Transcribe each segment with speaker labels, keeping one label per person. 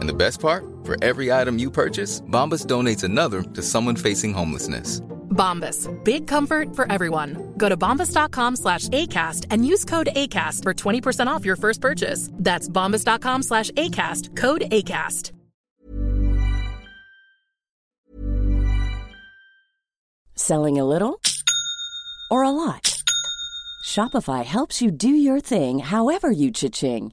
Speaker 1: And the best part? For every item you purchase, Bombas donates another to someone facing homelessness.
Speaker 2: Bombas, big comfort for everyone. Go to bombas.com slash ACAST and use code ACAST for 20% off your first purchase. That's bombas.com slash ACAST, code ACAST.
Speaker 3: Selling a little or a lot? Shopify helps you do your thing however you cha-ching.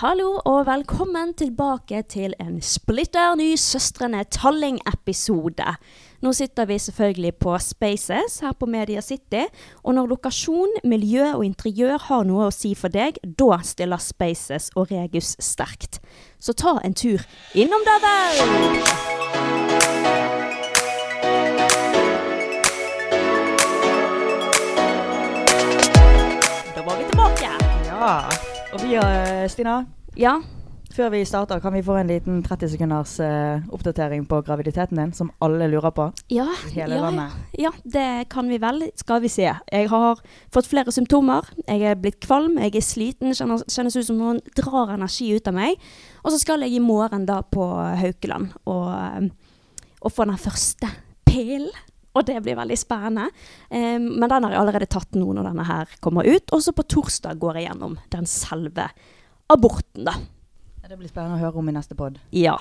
Speaker 4: Hallo og velkommen tilbake til en splitter ny Søstrene Talling-episode. Nå sitter vi selvfølgelig på Spaces her på Media City. Og når lokasjon, miljø og interiør har noe å si for deg, da stiller Spaces og Regus sterkt. Så ta en tur innom der, vel! Da var vi tilbake.
Speaker 5: Ja. Og vi, eh, Stina,
Speaker 4: Ja,
Speaker 5: før vi starter, kan vi få en liten 30 sekunders eh, oppdatering på graviditeten din, som alle lurer på?
Speaker 4: ja,
Speaker 5: I hele
Speaker 4: ja,
Speaker 5: landet.
Speaker 4: Ja, det kan vi vel. Skal vi se. Jeg har fått flere symptomer. Jeg er blitt kvalm, jeg er sliten. Kjennes, kjennes ut som noen drar energi ut av meg. Og så skal jeg i morgen da på Haukeland og, eh, og få den første pillen. Og det blir veldig spennende. Em, men den har jeg allerede tatt nå når denne her kommer ut. Og så på torsdag går jeg gjennom den selve aborten, da.
Speaker 5: Det blir spennende å høre om i neste pod.
Speaker 4: Ja.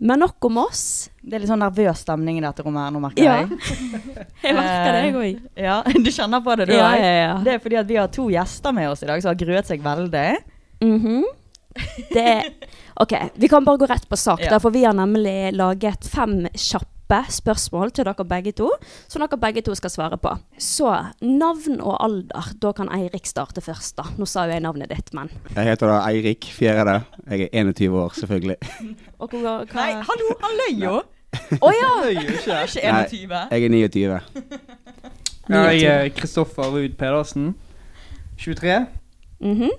Speaker 4: Men nok om oss.
Speaker 5: Det er litt sånn nervøs stemning i dette rommet her nå, merker
Speaker 4: Ja.
Speaker 5: jeg.
Speaker 4: Jeg merker det, jeg òg.
Speaker 5: Ja, du kjenner på det, du
Speaker 4: Eh, Ja,
Speaker 5: også?
Speaker 4: ja, ja.
Speaker 5: Det er fordi at vi har to gjester med oss i dag som har gruet seg veldig.
Speaker 4: Mhm. Det OK, vi kan bare gå rett på sak,
Speaker 5: Ja.
Speaker 4: da, for vi har nemlig laget fem kjappe
Speaker 5: kjappe spørsmål til dere begge to, som dere begge to skal svare på. Så navn og alder. Da kan Eirik starte først, da. Nå sa jo jeg navnet ditt, men
Speaker 6: Jeg heter da Eirik Fjerde. Jeg er 21 år, selvfølgelig.
Speaker 5: og hvor, hva...
Speaker 7: Nei, hallo, han løy jo!
Speaker 5: Å ja!
Speaker 7: Han løy jo ikke. Han er ikke 21.
Speaker 6: Nei, jeg er 29.
Speaker 8: Ja, jeg er Kristoffer Ruud Pedersen. 23.
Speaker 5: Mhm.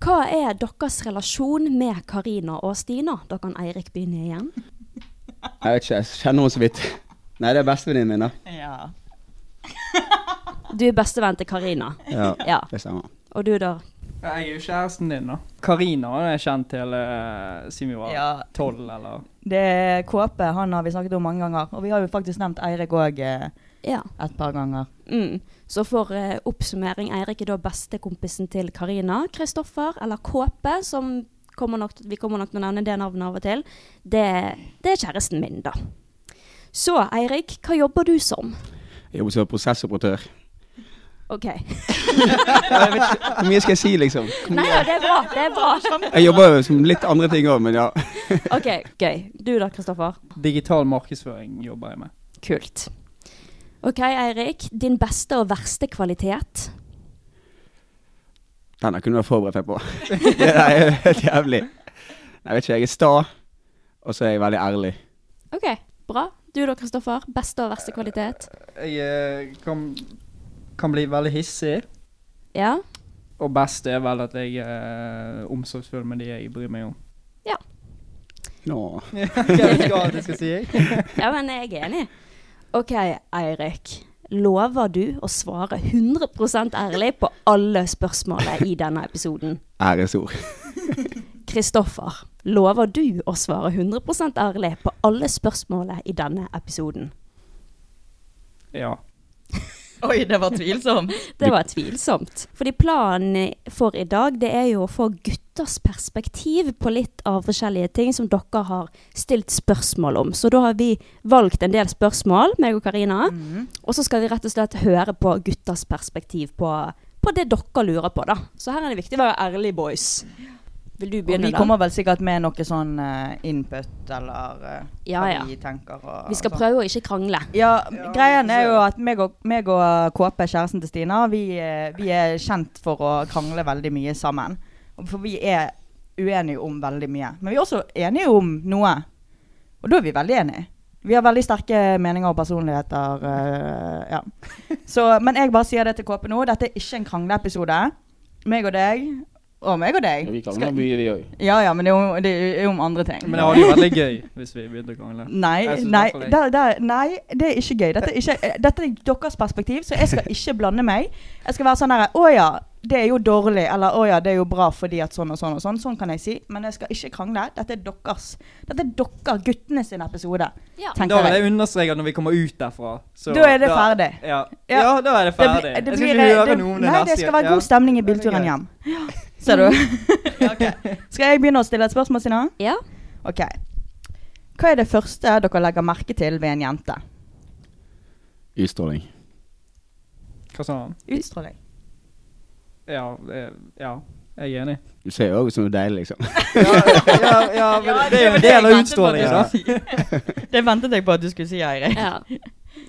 Speaker 5: Hva er deres relasjon med Karina og Stina? Da kan Eirik begynne igjen.
Speaker 6: Jeg vet ikke, jeg kjenner henne så vidt. Nei, det er bestevenninnen min, da.
Speaker 7: Ja.
Speaker 5: Du er bestevenn til Karina.
Speaker 6: Ja, det stemmer.
Speaker 5: Og du da?
Speaker 8: Ja, Jeg er jo kjæresten din, da. Karina er kjent til eh, siden vi var
Speaker 4: Ja.
Speaker 8: 12, eller
Speaker 4: Det er Kåpe, han har vi snakket om mange ganger. Og vi har jo faktisk nevnt Eirik òg eh,
Speaker 5: Ja.
Speaker 4: et par ganger.
Speaker 5: Mm. Så for eh, oppsummering, Eirik er da bestekompisen til Karina. Kristoffer, eller Kåpe, som kommer nok, vi kommer nok til å nevne det navnet av og til, det, det er kjæresten min, da. Så Eirik, hva jobber du som?
Speaker 6: Jeg jobber som prosessoperatør.
Speaker 5: OK.
Speaker 6: Jeg vet ikke, Hvor mye skal jeg si, liksom? Hvor
Speaker 5: Nei
Speaker 6: mye-
Speaker 5: da, det er bra. Det er
Speaker 7: Sånn.
Speaker 5: bra.
Speaker 6: Jeg jobber jo som litt andre ting òg, men ja.
Speaker 5: OK, gøy. Du da, Kristoffer?
Speaker 8: Digital markedsføring jobber jeg med.
Speaker 5: Kult. OK, Eirik. Din beste og verste kvalitet?
Speaker 6: Den her kunne du ha forberedt meg på. Det der er jo helt jævlig. Jeg vet ikke, jeg er sta, og så er jeg veldig ærlig.
Speaker 5: OK, bra. Du da, Kristoffer. Beste og verste kvalitet?
Speaker 8: Jeg eh, kan, kan bli veldig hissig.
Speaker 5: Ja.
Speaker 8: Og best er vel at jeg er eh, omsorgsfull med de jeg bryr meg om.
Speaker 5: Ja.
Speaker 6: Nå.
Speaker 8: Hva skal det skal si?
Speaker 5: ja, men jeg er enig. OK, Eirik. Lover du å svare 100 ærlig på alle spørsmålene i denne episoden?
Speaker 6: Æresord.
Speaker 5: Kristoffer, lover du å svare 100 ærlig på alle spørsmålene i denne episoden?
Speaker 8: Ja.
Speaker 7: Oi, det var tvilsomt.
Speaker 5: Det var tvilsomt. Fordi planen for i dag, det er jo å få gutters perspektiv på litt av forskjellige ting som dere har stilt spørsmål om. Så da har vi valgt en del spørsmål, meg og Karina.
Speaker 4: Mhm.
Speaker 5: Og så skal vi rett og slett høre på gutters perspektiv på, på det dere lurer på, da. Så her er det viktig å være ærlig, boys. Vil du
Speaker 4: Og
Speaker 5: begynne,
Speaker 4: vi
Speaker 5: da?
Speaker 4: kommer vel sikkert med noe sånn eh, input eller eh,
Speaker 5: Ja,
Speaker 4: hva
Speaker 5: ja.
Speaker 4: vi tenker. Og,
Speaker 5: Vi skal
Speaker 4: og sånn.
Speaker 5: prøve å ikke krangle.
Speaker 4: Ja, Greien er jo at meg og, meg og eh, Kåpe, kjæresten til Stina, vi, eh, vi er kjent for å krangle veldig mye sammen. Og For vi er uenige om veldig mye. Men vi er også enige om noe. Og da er vi veldig enige. Vi har veldig sterke meninger og personligheter. eh, ja. Så, men jeg bare sier det til Kåpe nå. Dette er ikke en krangleepisode. Meg og deg. Og meg og deg.
Speaker 6: Vi klarer
Speaker 4: Skal-
Speaker 6: mye, vi òg.
Speaker 4: Ja ja, men det er jo, det er jo om andre ting.
Speaker 8: Men det hadde jo vært litt gøy hvis vi begynte å krangle.
Speaker 4: Nei,
Speaker 8: Jeg synes
Speaker 4: nei,
Speaker 8: i hvert fall jeg-
Speaker 4: der, der, nei, det er ikke gøy. Dette er, ikke, eh, dette er deres perspektiv, så jeg skal ikke blande meg. Jeg skal være sånn her Å ja, det er jo dårlig. Eller å ja, det er jo bra fordi at sånn og sånn og sånn. Sånn kan jeg si. Men jeg skal ikke krangle. Dette er deres. Dette er dere, guttene sin episode.
Speaker 5: Ja.
Speaker 8: Da
Speaker 4: Tenker
Speaker 8: vil
Speaker 4: jeg.
Speaker 8: jeg understreke at når vi kommer ut derfra så
Speaker 4: Da er det ferdig.
Speaker 8: Ja. ja, da er det
Speaker 4: blir-
Speaker 8: ferdig.
Speaker 4: det
Speaker 8: jeg skal
Speaker 4: blir-
Speaker 8: ikke høre
Speaker 4: det-
Speaker 8: noe om det
Speaker 4: Nei,
Speaker 8: neste
Speaker 4: det skal være
Speaker 8: gang.
Speaker 4: god stemning i
Speaker 8: greit.
Speaker 4: bilturen hjem. Ser du? Skal jeg begynne å stille et spørsmål, Sina?
Speaker 5: Ja.
Speaker 4: Ok. Hva er det første dere legger merke til ved en jente?
Speaker 6: Utstråling.
Speaker 8: Hva sa han?
Speaker 4: Utstråling.
Speaker 8: Ja, eh, ja, jeg er enig.
Speaker 6: Du ser jo òg ut som du er deilig, liksom.
Speaker 8: Ja, ja, men det er jo en del av utstrålingen, da.
Speaker 7: Det ventet jeg på at du skulle si, Eirik.
Speaker 5: Ja.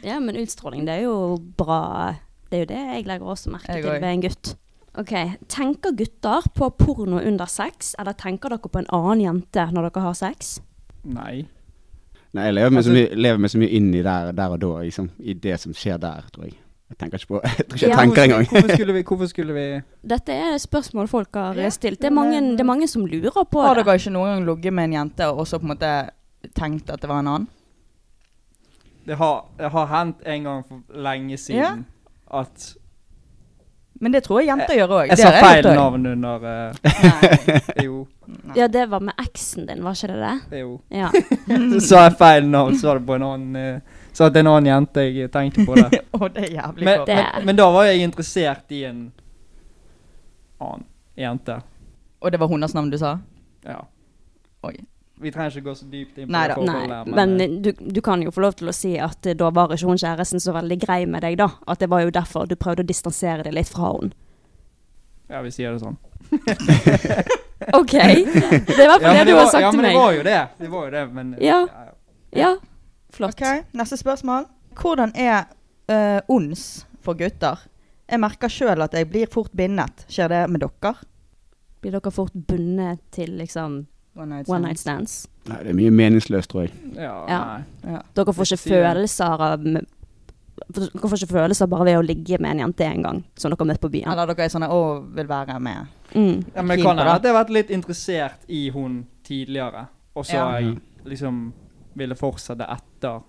Speaker 5: ja, men utstråling, det er jo bra Det er jo det jeg legger også merke
Speaker 7: Jeg
Speaker 5: til
Speaker 7: også.
Speaker 5: ved en gutt. Ok, Tenker gutter på porno under sex, eller tenker dere på en annen jente når dere har sex?
Speaker 8: Nei.
Speaker 6: Nei, jeg lever meg så mye, lever meg så mye inn i der, der og da, liksom. I det som skjer der, tror jeg. Jeg tenker ikke på Jeg tror ikke jeg
Speaker 5: Ja.
Speaker 6: tenker
Speaker 8: Hvorfor
Speaker 6: engang.
Speaker 8: skulle vi, hvorfor skulle vi
Speaker 5: Dette er et spørsmål folk har eh, stilt. Det er, mange, det er mange som lurer på
Speaker 4: Har
Speaker 5: det.
Speaker 4: dere ikke noen gang ligget med en jente og så på en måte tenkt at det var en annen?
Speaker 8: Det har, det har hendt en gang for lenge siden at Eh,
Speaker 4: Men det tror jeg jenter gjør òg.
Speaker 8: Jeg sa feil navn under eh, Jo.
Speaker 5: Ja, det var med eksen din, var ikke det det?
Speaker 8: Jo.
Speaker 5: Ja.
Speaker 8: Så sa jeg feil navn, så var det på en annen eh, Så at det er en annen jente jeg tenkte på det.
Speaker 4: Å, det er jævlig
Speaker 8: Men,
Speaker 4: godt.
Speaker 5: Det-
Speaker 8: men, men da var jeg interessert i en annen jente.
Speaker 4: Og det var hennes navn du sa?
Speaker 8: Ja.
Speaker 4: Oi.
Speaker 8: Vi trenger ikke gå så dypt inn på
Speaker 4: Nei
Speaker 8: det
Speaker 4: da.
Speaker 8: forholdet.
Speaker 5: Nei,
Speaker 8: her, eh,
Speaker 5: men du, du kan jo få lov til å si at eh, da var ikke hun kjæresten så veldig grei med deg, da. At det var jo derfor du prøvde å distansere deg litt fra henne.
Speaker 8: Ja, vi sier det sånn.
Speaker 5: OK! Det er i hvert fall
Speaker 8: men
Speaker 5: det du
Speaker 8: var-
Speaker 5: har sagt
Speaker 8: ja,
Speaker 5: til
Speaker 8: men
Speaker 5: meg.
Speaker 8: det var jo det. Det var jo det, men eh,
Speaker 5: Ja. Ja, Flott.
Speaker 7: Ok, Neste spørsmål. Hvordan er eh, ons for gutter? Jeg merker sjøl at jeg blir fort bindet. Skjer det med dere?
Speaker 5: Blir dere fort bundet til liksom
Speaker 7: One night,
Speaker 5: stands?
Speaker 6: Nei, det er mye meningsløst, tror jeg.
Speaker 4: Ja,
Speaker 5: Ja.
Speaker 7: nei. Ja.
Speaker 5: Dere får
Speaker 4: Litt
Speaker 5: ikke
Speaker 4: i det.
Speaker 5: følelser av Dere får ikke følelser bare ved å ligge med en jente en gang, som dere har møtt på byen.
Speaker 7: Eller dere er sånn å, vil være med?
Speaker 5: Mm.
Speaker 4: Ja, men
Speaker 7: Keen på
Speaker 4: kan hende
Speaker 7: det.
Speaker 4: at jeg har vært litt interessert i hun tidligere, og så
Speaker 7: Ja.
Speaker 4: har jeg liksom ville fortsette etter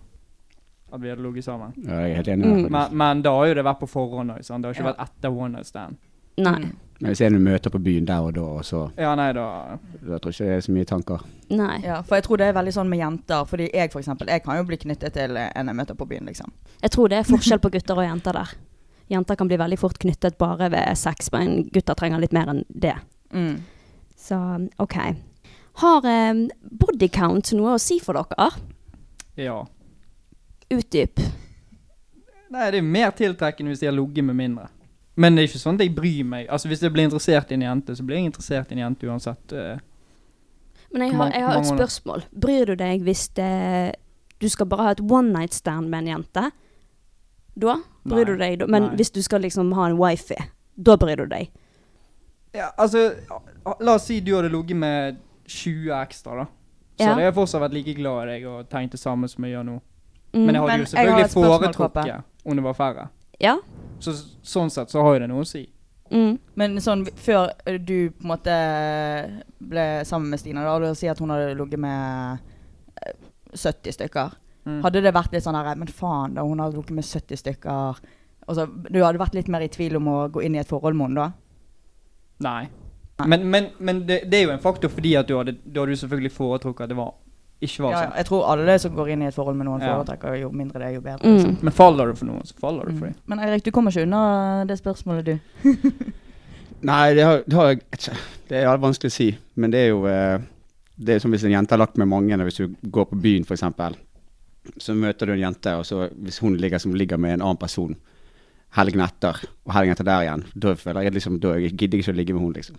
Speaker 4: at vi hadde ligget sammen.
Speaker 6: Ja, jeg er helt enig. Mm.
Speaker 4: Men, men da har jo det vært på forhånd òg, sant. Det har ikke
Speaker 7: Ja.
Speaker 4: vært etter one night stand.
Speaker 5: Nei.
Speaker 6: Men hvis en du møter på byen der og da, og så
Speaker 4: Ja, nei, da
Speaker 6: Da tror jeg ikke det er så mye tanker.
Speaker 5: Nei.
Speaker 7: Ja, for jeg tror det er veldig sånn med jenter. Fordi jeg for eksempel, jeg kan jo bli knyttet til eh, en jeg møter på byen, liksom.
Speaker 5: Jeg tror det er forskjell på gutter og jenter der. Jenter kan bli veldig fort knyttet bare ved sex, men gutter trenger litt mer enn det.
Speaker 7: Mm.
Speaker 5: Så OK. Har eh, body count noe å si for dere?
Speaker 4: Ja.
Speaker 5: Utdyp.
Speaker 4: Nei, det er mer tiltrekkende hvis de har ligget med mindre. Men det er ikke sånn at jeg bryr meg. Altså, Hvis jeg blir interessert i en jente, så blir jeg interessert i en jente uansett. eh.
Speaker 5: Men jeg
Speaker 4: Hvor
Speaker 5: har,
Speaker 4: mange-
Speaker 5: jeg har
Speaker 4: hvor
Speaker 5: et
Speaker 4: mange-
Speaker 5: spørsmål. Bryr du deg hvis det, du skal bare ha et one night stand med en jente? Da bryr du deg. da. Men
Speaker 4: nei.
Speaker 5: hvis du skal liksom ha en wifi, da bryr du deg.
Speaker 4: Ja, altså, La oss si du hadde ligget med 20 ekstra, da. Så
Speaker 5: Ja.
Speaker 4: hadde jeg fortsatt vært like glad i deg og tenkt det samme som jeg gjør nå.
Speaker 5: Mm.
Speaker 4: Men jeg hadde
Speaker 7: Men
Speaker 4: jo
Speaker 7: jeg har et
Speaker 4: selvfølgelig
Speaker 7: spørsmål, Kåpe.
Speaker 4: foretrukket om det var færre.
Speaker 5: Ja?
Speaker 4: Så sånn sett så har jo det noe å si.
Speaker 5: Mm.
Speaker 7: Men sånn før du på en måte ble sammen med Stina, da, og du sier at hun hadde ligget med eh, 70 stykker.
Speaker 4: Mm.
Speaker 7: Hadde det vært litt sånn her Men faen, da, hun hadde ligget med 70 stykker. Altså, du hadde vært litt mer i tvil om å gå inn i et forhold med henne da?
Speaker 4: Nei. Men, men, men det, det er jo en faktor fordi at du hadde, da hadde du selvfølgelig foretrukket at det var, ikke var
Speaker 7: Ja,
Speaker 4: sånn.
Speaker 7: jeg tror alle som går inn i et forhold med noen,
Speaker 4: Ja.
Speaker 7: foretrekker jo mindre det, jo bedre. liksom.
Speaker 4: Men faller du for noen, så faller du for dem.
Speaker 7: Men Eirik, du kommer ikke unna det spørsmålet, du.
Speaker 6: Nei, det har, det har jeg ikke. Det er vanskelig å si. Men det er jo eh, Det er som hvis en jente har lagt med mange, og hvis du går på byen f.eks., så møter du en jente, og så hvis hun ligger som ligger med en annen person helgen etter, og helgen etter der igjen, da føler jeg liksom Da gidder jeg ikke å ligge med hun liksom.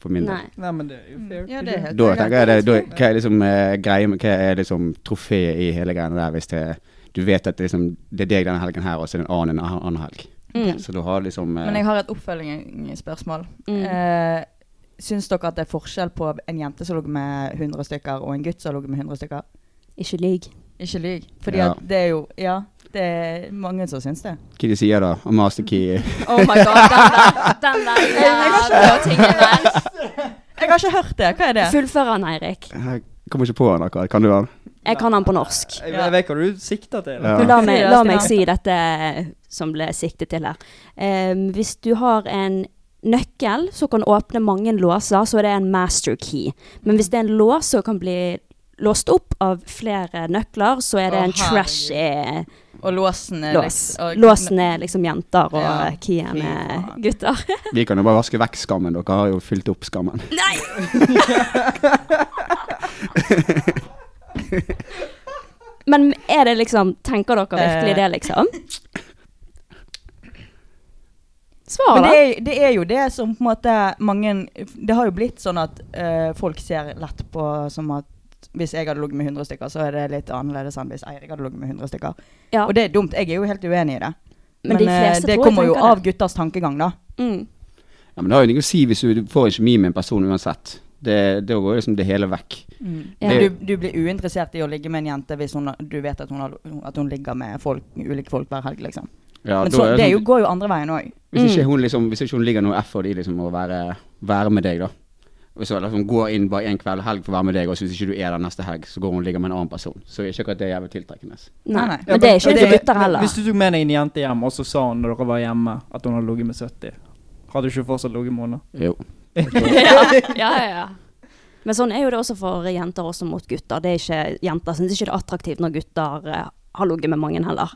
Speaker 6: For min del.
Speaker 5: Nei. Mm.
Speaker 4: Nei, men det er jo fair.
Speaker 7: Ja, det er helt
Speaker 6: Da tenker jeg det, da, Hva er liksom eh, greia med Hva er liksom trofeet i hele greia der, hvis det, du vet at det, liksom, det er deg denne helgen her, og så er det en annen en annen helg?
Speaker 5: Mm.
Speaker 6: Så du har liksom eh,
Speaker 7: Men jeg har et oppfølgingsspørsmål.
Speaker 5: Mm.
Speaker 7: Eh, syns dere at det er forskjell på en jente som lå med 100 stykker, og en gutt som lå med 100 stykker?
Speaker 5: Ikke lyg.
Speaker 7: Ikke lyg. Fordi
Speaker 6: Ja.
Speaker 7: at det er jo Ja, det er mange som syns det.
Speaker 6: Hva de sier da? Master key
Speaker 7: Oh my god, den der!
Speaker 5: Den der
Speaker 7: jævla
Speaker 5: tingen der.
Speaker 7: Jeg har ikke hørt det. Hva er det?
Speaker 5: Fullfør den, Eirik.
Speaker 6: Jeg kommer ikke på den akkurat. Kan du den?
Speaker 5: Jeg kan den på norsk.
Speaker 4: Jeg, jeg vet hva du sikter til.
Speaker 6: Ja.
Speaker 5: La meg, la
Speaker 7: Seriøst,
Speaker 5: meg
Speaker 7: ja.
Speaker 5: si dette som ble siktet til her. Em, hvis du har en nøkkel som kan åpne mange låser, så er det en master key. Men hvis det er en lås som kan bli låst opp av flere nøkler, så er det
Speaker 7: Å,
Speaker 5: en
Speaker 7: herregud.
Speaker 5: trashy
Speaker 7: Og låsen er
Speaker 5: lås.
Speaker 7: litt- og-
Speaker 5: Låsen er liksom jenter, og
Speaker 7: Ja,
Speaker 5: keyen
Speaker 7: fy
Speaker 5: er
Speaker 7: faen.
Speaker 5: gutter.
Speaker 6: Vi kan jo bare vaske vekk skammen. Dere har jo fylt opp skammen.
Speaker 5: Nei! Men er det liksom Tenker dere
Speaker 7: Eh.
Speaker 5: virkelig det, liksom? Svar,
Speaker 7: Men
Speaker 5: da.
Speaker 7: det er, det er jo det som på en måte mange Det har jo blitt sånn at eh, folk ser lett på som at hvis jeg hadde ligget med 100 stykker, så er det litt annerledes enn hvis Eirik hadde ligget med 100 stykker.
Speaker 5: Ja.
Speaker 7: Og det er dumt. Jeg er jo helt uenig i det.
Speaker 5: Men de
Speaker 7: eh,
Speaker 5: fleste
Speaker 7: det
Speaker 5: tror jeg
Speaker 7: kommer jo
Speaker 5: tenker
Speaker 7: av
Speaker 5: det.
Speaker 7: gutters tankegang, da.
Speaker 5: Mm.
Speaker 6: Ja, men det har jo ingenting å si hvis du får en kjemi med en person uansett. Det, det går jo liksom det hele vekk.
Speaker 5: Ja.
Speaker 7: Mm. Men Du, du blir uinteressert i å ligge med en jente hvis hun, du vet at hun, har, at hun ligger med folk, ulike folk hver helg, liksom.
Speaker 6: Ja,
Speaker 7: Men
Speaker 6: da
Speaker 7: så,
Speaker 6: er det
Speaker 7: det er jo,
Speaker 6: sånn-
Speaker 7: går jo andre veien òg.
Speaker 6: Hvis ikke hun, liksom, hvis ikke hun ligger noe effort i liksom, å være, være med deg, da. Hvis hun liksom går inn bare en kveld helg for å være med deg, og så hvis ikke du er der neste helg, så går hun og ligger med en annen person. Så er ikke akkurat det jævlig tiltrekkende.
Speaker 5: Nei,
Speaker 7: Nei, nei.
Speaker 5: men det er ikke
Speaker 4: Ja,
Speaker 5: noe for gutter heller.
Speaker 4: Hvis du tok med deg en jente hjem, og så sa hun når dere var hjemme at hun hadde ligget med 70, hadde du ikke fortsatt ligget med henne?
Speaker 6: Jo.
Speaker 5: ja, ja, ja. Men sånn er jo det også for jenter også mot gutter. Det er ikke, jenter syns ikke det er attraktivt når gutter eh, har ligget med mange heller.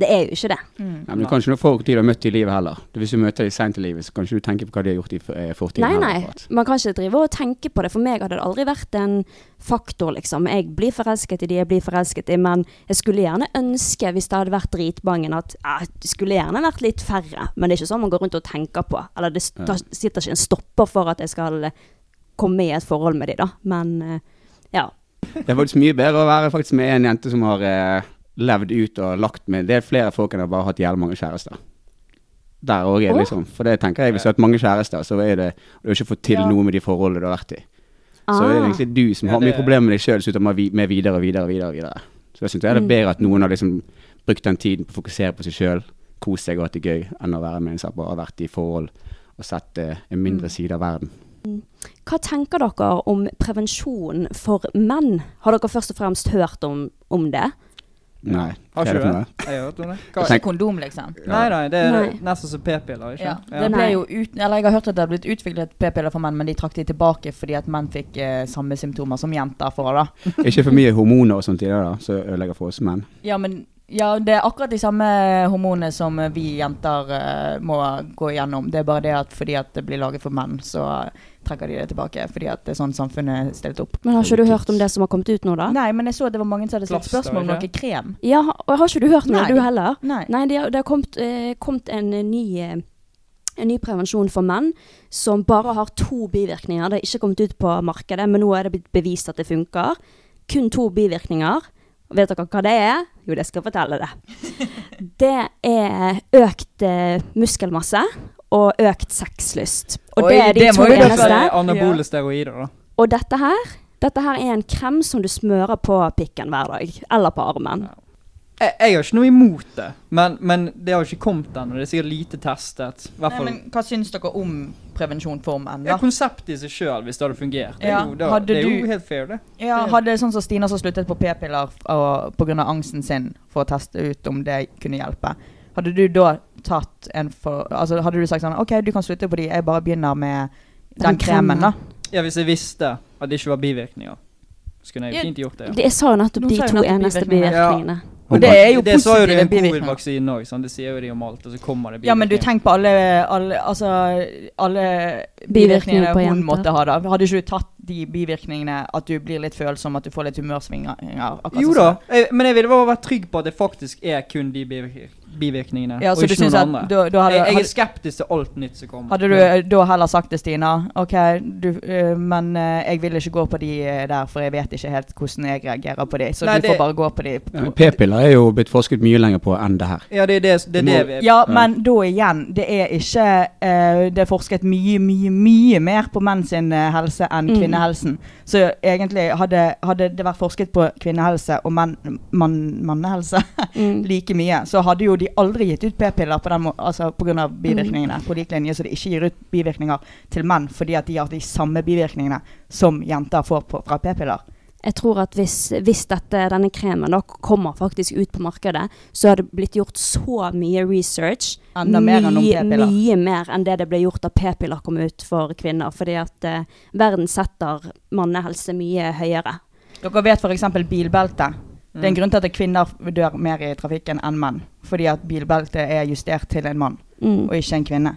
Speaker 5: Det er jo ikke det.
Speaker 6: Nei, men du kan ikke noe for de du har møtt i livet heller. Hvis du møter dem sent i livet, så kan ikke du tenke på hva de har gjort i eh, fortiden.
Speaker 5: Nei,
Speaker 6: heller,
Speaker 5: nei.
Speaker 6: akkurat.
Speaker 5: Man kan ikke drive og tenke på det. For meg hadde det aldri vært en faktor, liksom. Jeg blir forelsket i de jeg blir forelsket i, men jeg skulle gjerne ønske, hvis det hadde vært dritbangen, at eh, det skulle gjerne vært litt færre. Men det er ikke sånn man går rundt og tenker på. Eller det sta- eh, sitter ikke en stopper for at jeg skal komme i et forhold med de, da. Men eh, ja.
Speaker 4: Det er faktisk mye bedre å være faktisk med en jente som har eh, levd ut og lagt med Det er flere folk enn å bare ha hatt jævlig mange kjærester. Der òg,
Speaker 5: Åh.
Speaker 4: liksom. For det tenker jeg, hvis du har hatt mange kjærester, så er det og Du har ikke fått til
Speaker 5: Ja.
Speaker 4: noe med de forholdene du har vært i. Så
Speaker 5: Ah.
Speaker 4: er det egentlig du som
Speaker 5: Ja,
Speaker 4: har
Speaker 5: det-
Speaker 4: mye problemer med deg sjøl, så du må vi- med videre og videre og videre, og videre. Så jeg syns det er
Speaker 5: Mm.
Speaker 4: bedre at noen har liksom brukt den tiden på å fokusere på seg sjøl, kose seg og hatt det gøy, enn å være med en som bare har vært i forhold og sett eh, en mindre side av verden.
Speaker 5: Mm. Hva tenker dere om prevensjon for menn? Har dere først og fremst hørt om, om det?
Speaker 4: Nei.
Speaker 7: Har ikke
Speaker 4: hva er det
Speaker 7: du
Speaker 4: for
Speaker 7: det?
Speaker 4: noe?
Speaker 7: Jeg har hørt om det.
Speaker 4: Hva- Tenk-
Speaker 9: Kondom, liksom.
Speaker 7: Nei, nei, det er
Speaker 9: Nei.
Speaker 7: nesten som p-piller, ikke
Speaker 9: Ja, det ble
Speaker 7: Nei.
Speaker 9: jo ut, eller jeg har hørt at det har blitt utviklet p-piller for menn, men de trakk de tilbake fordi at menn fikk eh, samme symptomer som jenter får. da.
Speaker 4: Ikke for mye hormoner og sånt i det, da, som ødelegger for oss menn.
Speaker 9: Ja, men ja, det er akkurat de samme hormonene som vi jenter eh, må gå igjennom. Det er bare det at fordi at det blir laget for menn, så eh, trekker de det tilbake. Fordi at det er sånn samfunnet er stilt opp.
Speaker 5: Men har ikke du hørt om det som har kommet ut nå, da?
Speaker 9: Nei, men jeg så at det var mange som hadde stilt
Speaker 5: Plaster,
Speaker 9: spørsmål om
Speaker 5: ikke?
Speaker 9: noe krem.
Speaker 5: Ja, ha- og har ikke du hørt om
Speaker 9: Nei.
Speaker 5: det, du heller?
Speaker 9: Nei.
Speaker 5: det, har- det har kommet, eh, kommet en, eh, ny, eh, en ny prevensjon for menn som bare har to bivirkninger. Det har ikke kommet ut på markedet, men nå er det blitt bevist at det funker. Kun to bivirkninger. Vet dere hva det er? Jo, det skal jeg fortelle det. Det er økt eh, muskelmasse og økt sexlyst. Og det er de to eneste.
Speaker 7: Anabole steroider, da.
Speaker 5: Og dette her, dette her er en krem som du smører på pikken hver dag. Eller på armen.
Speaker 7: Jeg, jeg har ikke noe imot det, men, men det har ikke kommet ennå. Det er sikkert lite testet. I hvert
Speaker 9: Nei,
Speaker 7: fall
Speaker 9: men hva syns dere om prevensjon for menn?
Speaker 7: ja,
Speaker 9: da?
Speaker 7: konseptet i seg sjøl, hvis det hadde fungert. Det er
Speaker 9: Ja,
Speaker 7: jo, det,
Speaker 9: hadde
Speaker 7: det er
Speaker 9: du-
Speaker 7: jo helt fair, det.
Speaker 9: Ja,
Speaker 7: Det-
Speaker 9: hadde sånn som Stina som sluttet på p-piller f- og- på grunn av angsten sin for å teste ut om det kunne hjelpe. Hadde du da tatt en for Altså hadde du sagt sånn OK, du kan slutte på de, jeg bare begynner med den,
Speaker 5: Den kremen.
Speaker 9: kremen, da.
Speaker 7: Ja, hvis jeg visste at det ikke var biverkninger, så kunne jeg
Speaker 9: Ja,
Speaker 7: jo fint gjort det.
Speaker 5: det- jeg sa jo nettopp
Speaker 9: Nå
Speaker 5: de
Speaker 9: sa jeg
Speaker 5: to
Speaker 9: nettopp
Speaker 5: eneste
Speaker 9: bivirkningene.
Speaker 5: bivirkningene.
Speaker 9: Og det er jo
Speaker 7: Det sa jo de
Speaker 9: positive
Speaker 7: om
Speaker 9: bivirkninger.
Speaker 7: covid-vaksinen òg, sant. Det sier jo de om alt, og så kommer det
Speaker 9: Ja, men du
Speaker 7: bivirkninger.
Speaker 9: tenk på alle, alle Altså alle bivirkningene
Speaker 5: Bivirkninger på
Speaker 9: hun
Speaker 5: jenter.
Speaker 9: måtte ha, da. Hadde ikke du tatt de bivirkningene at du blir litt følsom, at du får litt humørsvinger? akkurat
Speaker 7: Jo
Speaker 9: sånn
Speaker 7: da,
Speaker 9: som-
Speaker 7: jeg, men jeg ville bare vært trygg på at det faktisk er kun de bivirk- bivirkningene,
Speaker 9: Ja, så
Speaker 7: og
Speaker 9: du
Speaker 7: ikke
Speaker 9: synes
Speaker 7: noen
Speaker 9: at
Speaker 7: andre.
Speaker 9: da- da hadde-
Speaker 7: jeg, jeg
Speaker 9: hadde-
Speaker 7: er skeptisk til alt nytt som kommer.
Speaker 9: Hadde du eh, da heller sagt det, Stina? Ok, du, eh, men eh, jeg vil ikke gå på de eh, der, for jeg vet ikke helt hvordan jeg reagerer på de. Så
Speaker 7: Nei,
Speaker 9: du
Speaker 7: det-
Speaker 9: får bare gå på de.
Speaker 4: Ja, men P-piller er jo blitt forsket mye lenger på enn det her.
Speaker 7: Ja, det er det, det, er det vi
Speaker 9: Ja, men da igjen, det er ikke eh, Det er forsket mye, mye, mye mer på menn sin eh, helse enn
Speaker 5: Mm.
Speaker 9: kvinnehelsen. Så egentlig hadde, hadde det vært forsket på kvinnehelse og menn, mann, mannehelse
Speaker 5: Mm.
Speaker 9: like mye, så hadde jo de aldri gitt ut p-piller på den må altså på grunn av bivirkningene.
Speaker 7: Mm.
Speaker 9: På lik linje så de ikke gir ut bivirkninger til menn fordi at de har de samme bivirkningene som jenter får på, fra p-piller.
Speaker 5: Jeg tror at hvis, hvis dette, denne kremen da kommer faktisk ut på markedet, så har det blitt gjort så mye research.
Speaker 9: Enda mer enn om
Speaker 5: mye-
Speaker 9: p-piller.
Speaker 5: Mye mer enn det det ble gjort da p-piller kom ut for kvinner. Fordi at eh, verden setter mannehelse mye høyere.
Speaker 9: Dere vet f.eks. bilbelte. Det er en
Speaker 5: Mm.
Speaker 9: grunn til at kvinner dør mer i trafikken enn menn. Fordi at bilbelte er justert til en mann,
Speaker 5: Mm.
Speaker 9: og ikke en kvinne.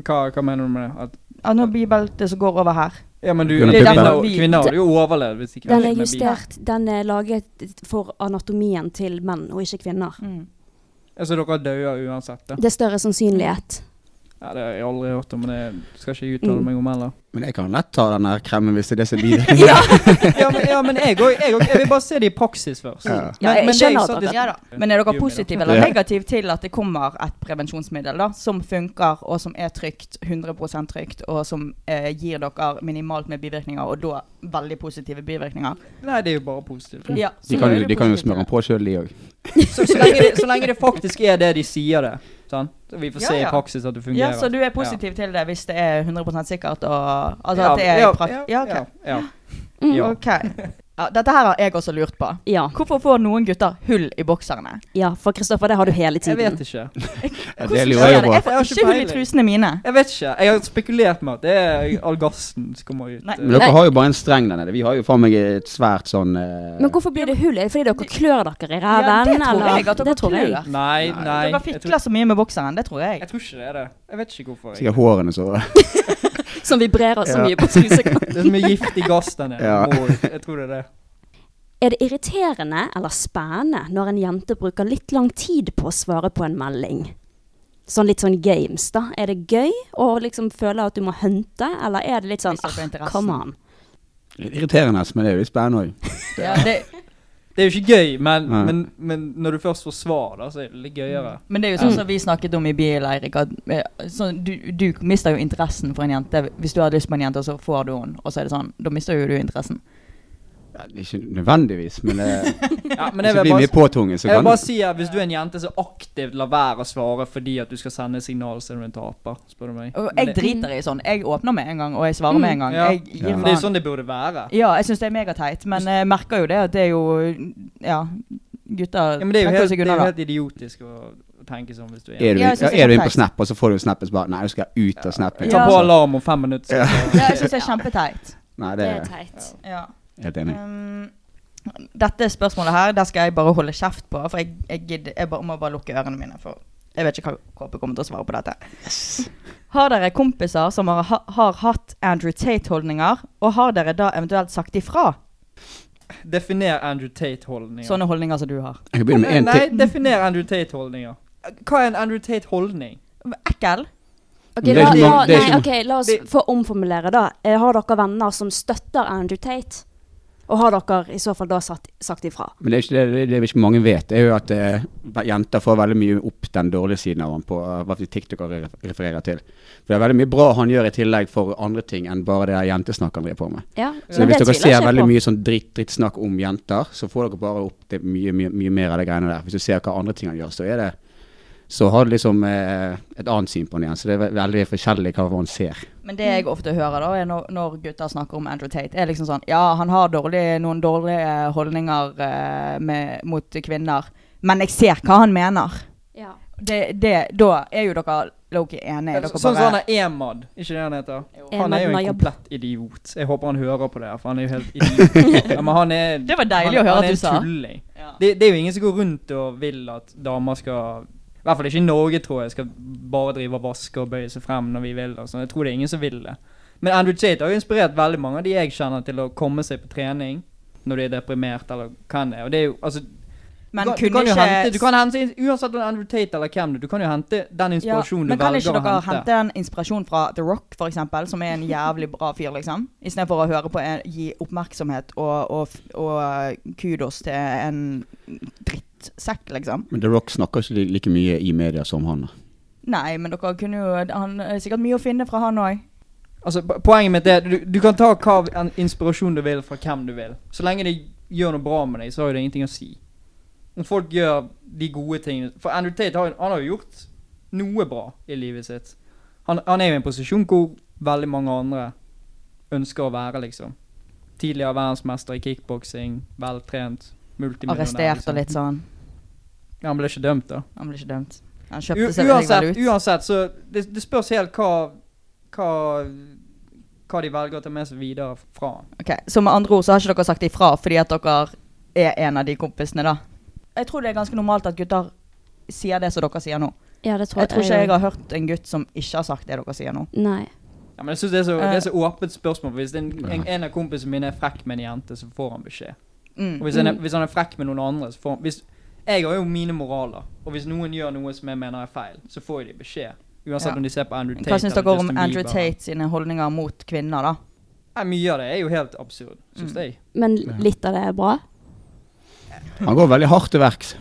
Speaker 7: hva, hva mener du med det? At
Speaker 9: Ja, nå er bilbeltet som går over her.
Speaker 7: Ja, men du,
Speaker 9: Det er
Speaker 7: kvinner,
Speaker 9: derfor vi-
Speaker 7: kvinner hadde jo overlevd hvis ikke
Speaker 5: Den
Speaker 7: hadde med
Speaker 5: er
Speaker 7: bil.
Speaker 5: justert, den er laget for anatomien til menn, og ikke kvinner.
Speaker 7: Altså, dere dør uansett, da.
Speaker 5: Det er større sannsynlighet. Mm.
Speaker 7: Ja, det har jeg aldri hørt om, men det skal ikke jeg uttale meg om heller.
Speaker 4: Men jeg kan lett ta den her kremen hvis det er det som blir det.
Speaker 7: ja, men, ja, men jeg òg. Jeg, også. jeg vil bare se det i praksis først.
Speaker 4: Ja.
Speaker 9: Ja,
Speaker 7: Men-
Speaker 9: jeg
Speaker 7: men det er jo
Speaker 9: skjønner
Speaker 7: sånn
Speaker 9: at dere-
Speaker 7: det-
Speaker 9: ja, da. Men er dere
Speaker 7: Gummi, da.
Speaker 9: positive eller
Speaker 7: Ja.
Speaker 9: negative til at det kommer et prevensjonsmiddel da, som funker, og som er trygt, 100 trygt, og som eh, gir dere minimalt med bivirkninger, og da veldig positive bivirkninger?
Speaker 7: Nei, det er jo bare positivt.
Speaker 9: Ja,
Speaker 4: De kan, jo- de kan jo smøre den på sjøl, de òg.
Speaker 7: Så, så, lenge det, så lenge det faktisk er det de sier det. Sant? Så vi får
Speaker 9: Ja,
Speaker 7: se i
Speaker 9: ja.
Speaker 7: praksis at det fungerer.
Speaker 9: Ja, så du er positiv til det hvis det er 100 sikkert? Og, altså
Speaker 7: Ja,
Speaker 9: at det er
Speaker 7: ja,
Speaker 9: prakt...
Speaker 7: ja,
Speaker 9: Ja, ok.
Speaker 7: Ja.
Speaker 9: Mm.
Speaker 7: Ja.
Speaker 9: Ok. Ja, dette her har jeg også lurt på. Hvorfor får noen gutter hull i bokserne?
Speaker 5: Ja, for Kristoffer, det har du hele tiden.
Speaker 7: Jeg vet ikke.
Speaker 4: Ja,
Speaker 9: Hvordan
Speaker 4: det lurer jeg
Speaker 9: skjer det?
Speaker 4: på.
Speaker 9: Jeg får ikke hull i trusene mine.
Speaker 7: Jeg vet ikke. Jeg har spekulert med at det er all gassen som kommer ut.
Speaker 4: Men dere har jo bare en streng der nede. Vi har jo faen meg et svært sånn eh,
Speaker 5: Men hvorfor blir det hull? Er det fordi dere klør dere i ræven?
Speaker 9: det tror
Speaker 5: eller?
Speaker 9: jeg at dere
Speaker 5: Det tror jeg.
Speaker 9: klør.
Speaker 7: Nei, nei.
Speaker 9: Dere
Speaker 7: Jeg
Speaker 9: fikler så mye med bokseren, det tror jeg.
Speaker 7: Jeg tror ikke det er det. Jeg vet ikke hvorfor. Jeg.
Speaker 4: Sikkert hårene så
Speaker 5: Som vibrerer så
Speaker 4: Ja.
Speaker 5: mye på trusekanten.
Speaker 7: Det er så mye giftig gass der nede.
Speaker 4: Ja.
Speaker 7: Og Jeg tror det er det.
Speaker 5: Er det irriterende eller spennende når en jente bruker litt lang tid på å svare på en melding? Sånn litt sånn games, da. Er det gøy å liksom føle at du må hunte, eller er det litt sånn
Speaker 9: Viser på
Speaker 5: ah,
Speaker 9: interessen."
Speaker 5: come on?
Speaker 6: Litt irriterende, men det er jo litt spennende òg.
Speaker 10: Ja, det,
Speaker 9: Det er jo ikke gøy, men,
Speaker 6: Nei.
Speaker 9: men, men når du først får svar, da, så er det litt gøyere.
Speaker 5: Men det er jo sånn som vi snakket om i bil, Eirik. At eh, sånn, du, du mister jo interessen for en jente. Hvis du har lyst på en jente, og så får du henne, og så er det sånn. Da mister jo du interessen.
Speaker 6: Ja, det er ikke nødvendigvis, men det
Speaker 9: Ja,
Speaker 6: Hvis
Speaker 9: men
Speaker 6: det
Speaker 9: jeg vil
Speaker 6: blir
Speaker 9: bare-
Speaker 6: mye påtunget, så
Speaker 9: Jeg
Speaker 6: kan
Speaker 9: vil bare si at hvis du er en jente som aktivt lar være å svare fordi at du skal sende signal som du er en taper, spør du meg.
Speaker 5: Og
Speaker 9: Men
Speaker 5: jeg
Speaker 9: det- Mm.
Speaker 5: driter i sånn. Jeg åpner med en gang, og jeg svarer med en gang.
Speaker 9: Ja.
Speaker 5: Jeg gir
Speaker 9: Men
Speaker 5: faen.
Speaker 9: Det er jo sånn det burde være.
Speaker 5: Ja, jeg syns det er megateit, men jeg merker jo det at det er jo Ja, gutter
Speaker 9: Ja, men det er jo
Speaker 5: trekker
Speaker 9: helt, det
Speaker 5: seg
Speaker 9: er
Speaker 5: unna,
Speaker 9: jo
Speaker 5: da.
Speaker 9: helt idiotisk å å tenke sånn hvis du er
Speaker 6: Er du,
Speaker 5: Ja, jeg synes det er
Speaker 6: er du inne på
Speaker 5: teit.
Speaker 6: Snap, og så får du snappen, så bare Nei, du skal jeg ut av Snap.
Speaker 9: Ta på alarm om fem minutter.
Speaker 6: Ja.
Speaker 5: Ja, jeg syns det er kjempeteit.
Speaker 6: Nei, det er
Speaker 4: teit.
Speaker 5: Ja.
Speaker 6: helt enig.
Speaker 5: Um, dette spørsmålet her, der skal jeg bare holde kjeft på, for jeg, jeg, gidder, jeg bare, må bare lukke ørene mine. For jeg vet ikke hva KP kommer til å svare på dette. Har dere kompiser som har, ha- har hatt Andrew Tate-holdninger, og har dere da eventuelt sagt ifra
Speaker 9: Definer Andrew Tate-holdninger.
Speaker 5: sånne holdninger som du har?
Speaker 6: Jeg kan begynne med en
Speaker 9: Nei,
Speaker 6: ting.
Speaker 9: definer Andrew Tate-holdninger. Hva er en Andrew Tate-holdning?
Speaker 5: Ekkel?
Speaker 6: Men
Speaker 4: Ok,
Speaker 6: det er
Speaker 4: la,
Speaker 6: ikke noe-
Speaker 4: la,
Speaker 6: det er
Speaker 4: nei,
Speaker 6: ikke-
Speaker 4: ok, la oss få omformulere, da. Eh, Har dere venner som støtter Andrew Tate? Og har dere i så fall da satt, sagt ifra?
Speaker 6: Men det er ikke det, det, det er ikke mange vet, det er jo at eh, jenter får veldig mye opp den dårlige siden av ham på eh, hva TikTok refererer til. For det er veldig mye bra han gjør i tillegg for andre ting enn bare det der jentesnakk han driver på med.
Speaker 4: Ja,
Speaker 6: Så
Speaker 4: men
Speaker 6: hvis
Speaker 4: det
Speaker 6: dere
Speaker 4: tviler jeg
Speaker 6: ser
Speaker 4: ikke
Speaker 6: veldig
Speaker 4: på.
Speaker 6: mye sånn dritt, drittsnakk om jenter, så får dere bare opp det mye, mye, mye mer av det greiene der. Hvis du ser hva andre ting han gjør, så er det så har du liksom eh, et annet syn på han igjen. Så det er ve- veldig forskjellig hva man ser.
Speaker 5: Men det jeg ofte hører da, er når, når gutter snakker om Andrew Tate, er liksom sånn Ja, han har dårlig, noen dårlige holdninger eh, med, mot kvinner, men jeg ser hva han mener.
Speaker 4: Ja.
Speaker 5: Det, det, da er jo dere Loki enige. Dere
Speaker 9: Sånn som han
Speaker 5: bare
Speaker 9: er Emad, ikke det han heter? Han
Speaker 5: Emad
Speaker 9: er jo en
Speaker 5: Najab.
Speaker 9: komplett idiot. Jeg håper han hører på det, her, for han er jo helt idiot. Ja, men han er,
Speaker 5: Det var deilig
Speaker 9: han,
Speaker 5: å høre
Speaker 9: han
Speaker 5: at
Speaker 9: er en
Speaker 5: du sa.
Speaker 9: Tulling. Det, det er jo ingen som går rundt og vil at damer skal I hvert fall ikke i Norge, tror jeg, skal bare drive og vaske og bøye seg frem når vi vil. Og sånn. jeg tror det er ingen som vil det. Men Andrew Tate har jo inspirert veldig mange av de jeg kjenner til å komme seg på trening når de er deprimert eller hva enn det er. Og det er jo, altså,
Speaker 5: Men
Speaker 9: du, kan-
Speaker 5: kunne
Speaker 9: du kan jo
Speaker 5: ikke-
Speaker 9: hente, du kan hente, Uansett om det er Andrew Tate eller hvem det er, du kan jo hente den
Speaker 5: ja,
Speaker 9: inspirasjonen
Speaker 5: men
Speaker 9: du
Speaker 5: kan
Speaker 9: velger
Speaker 5: ikke
Speaker 9: å
Speaker 5: dere
Speaker 9: hente.
Speaker 5: hente en inspirasjon fra The Rock, f.eks., som er en jævlig bra fyr, liksom? Istedenfor å høre på en, gi oppmerksomhet og, og, f- og eh, kudos til en drittsekk, liksom.
Speaker 6: Men The Rock snakker ikke li- like mye i media som han.
Speaker 5: Nei, men dere kunne jo Han er sikkert mye å finne fra han òg.
Speaker 9: Altså, po- poenget mitt er du, du kan ta hva av en inspirasjon du vil fra hvem du vil. Så lenge det gjør noe bra med deg, så har jo det ingenting å si. Om folk gjør de gode tingene For Andrew Tate har, han har jo gjort noe bra i livet sitt. Han, han er jo i en posisjon hvor veldig mange andre ønsker å være, liksom. Tidligere verdensmester i kickboksing, veltrent, multimillionær.
Speaker 5: Arrestert
Speaker 9: liksom.
Speaker 5: og litt sånn.
Speaker 9: Ja, han ble ikke dømt, da.
Speaker 5: Han ble ikke dømt. Han
Speaker 9: U
Speaker 5: kjøpte seg veldig vel
Speaker 9: uansett,
Speaker 5: ut.
Speaker 9: uansett, så det, det spørs helt hva, hva Hva de velger å ta med seg videre fra han.
Speaker 5: Ok, Så med andre ord så har ikke dere sagt ifra fordi at dere er en av de kompisene, da? Jeg tror det er ganske normalt at gutter sier det som dere sier nå.
Speaker 4: Ja, det tror
Speaker 5: jeg tror
Speaker 4: jeg
Speaker 5: ikke jeg
Speaker 4: også.
Speaker 5: har hørt en gutt som ikke har sagt det dere sier nå.
Speaker 4: Nei.
Speaker 9: Ja, men jeg synes det er så, det er så
Speaker 5: Eh.
Speaker 9: åpent spørsmål. for Hvis en, en, en av kompisene mine er frekk med en jente, så får han beskjed.
Speaker 5: Mm.
Speaker 9: Og hvis, han er,
Speaker 5: Mm.
Speaker 9: hvis han er frekk med noen andre, så får han hvis, Jeg har jo mine moraler, og hvis noen gjør noe som jeg mener er feil, så får jo de beskjed. Uansett
Speaker 5: Ja.
Speaker 9: om de ser på Andrew Tate
Speaker 5: Hva syns
Speaker 9: eller
Speaker 5: dere om
Speaker 9: Justin
Speaker 5: Andrew
Speaker 9: Bieber.
Speaker 5: Tate sine holdninger mot kvinner, da?
Speaker 9: Nei, mye av det er jo helt absurd, syns jeg.
Speaker 4: Men litt av det er bra?
Speaker 6: Han går veldig hardt til verks.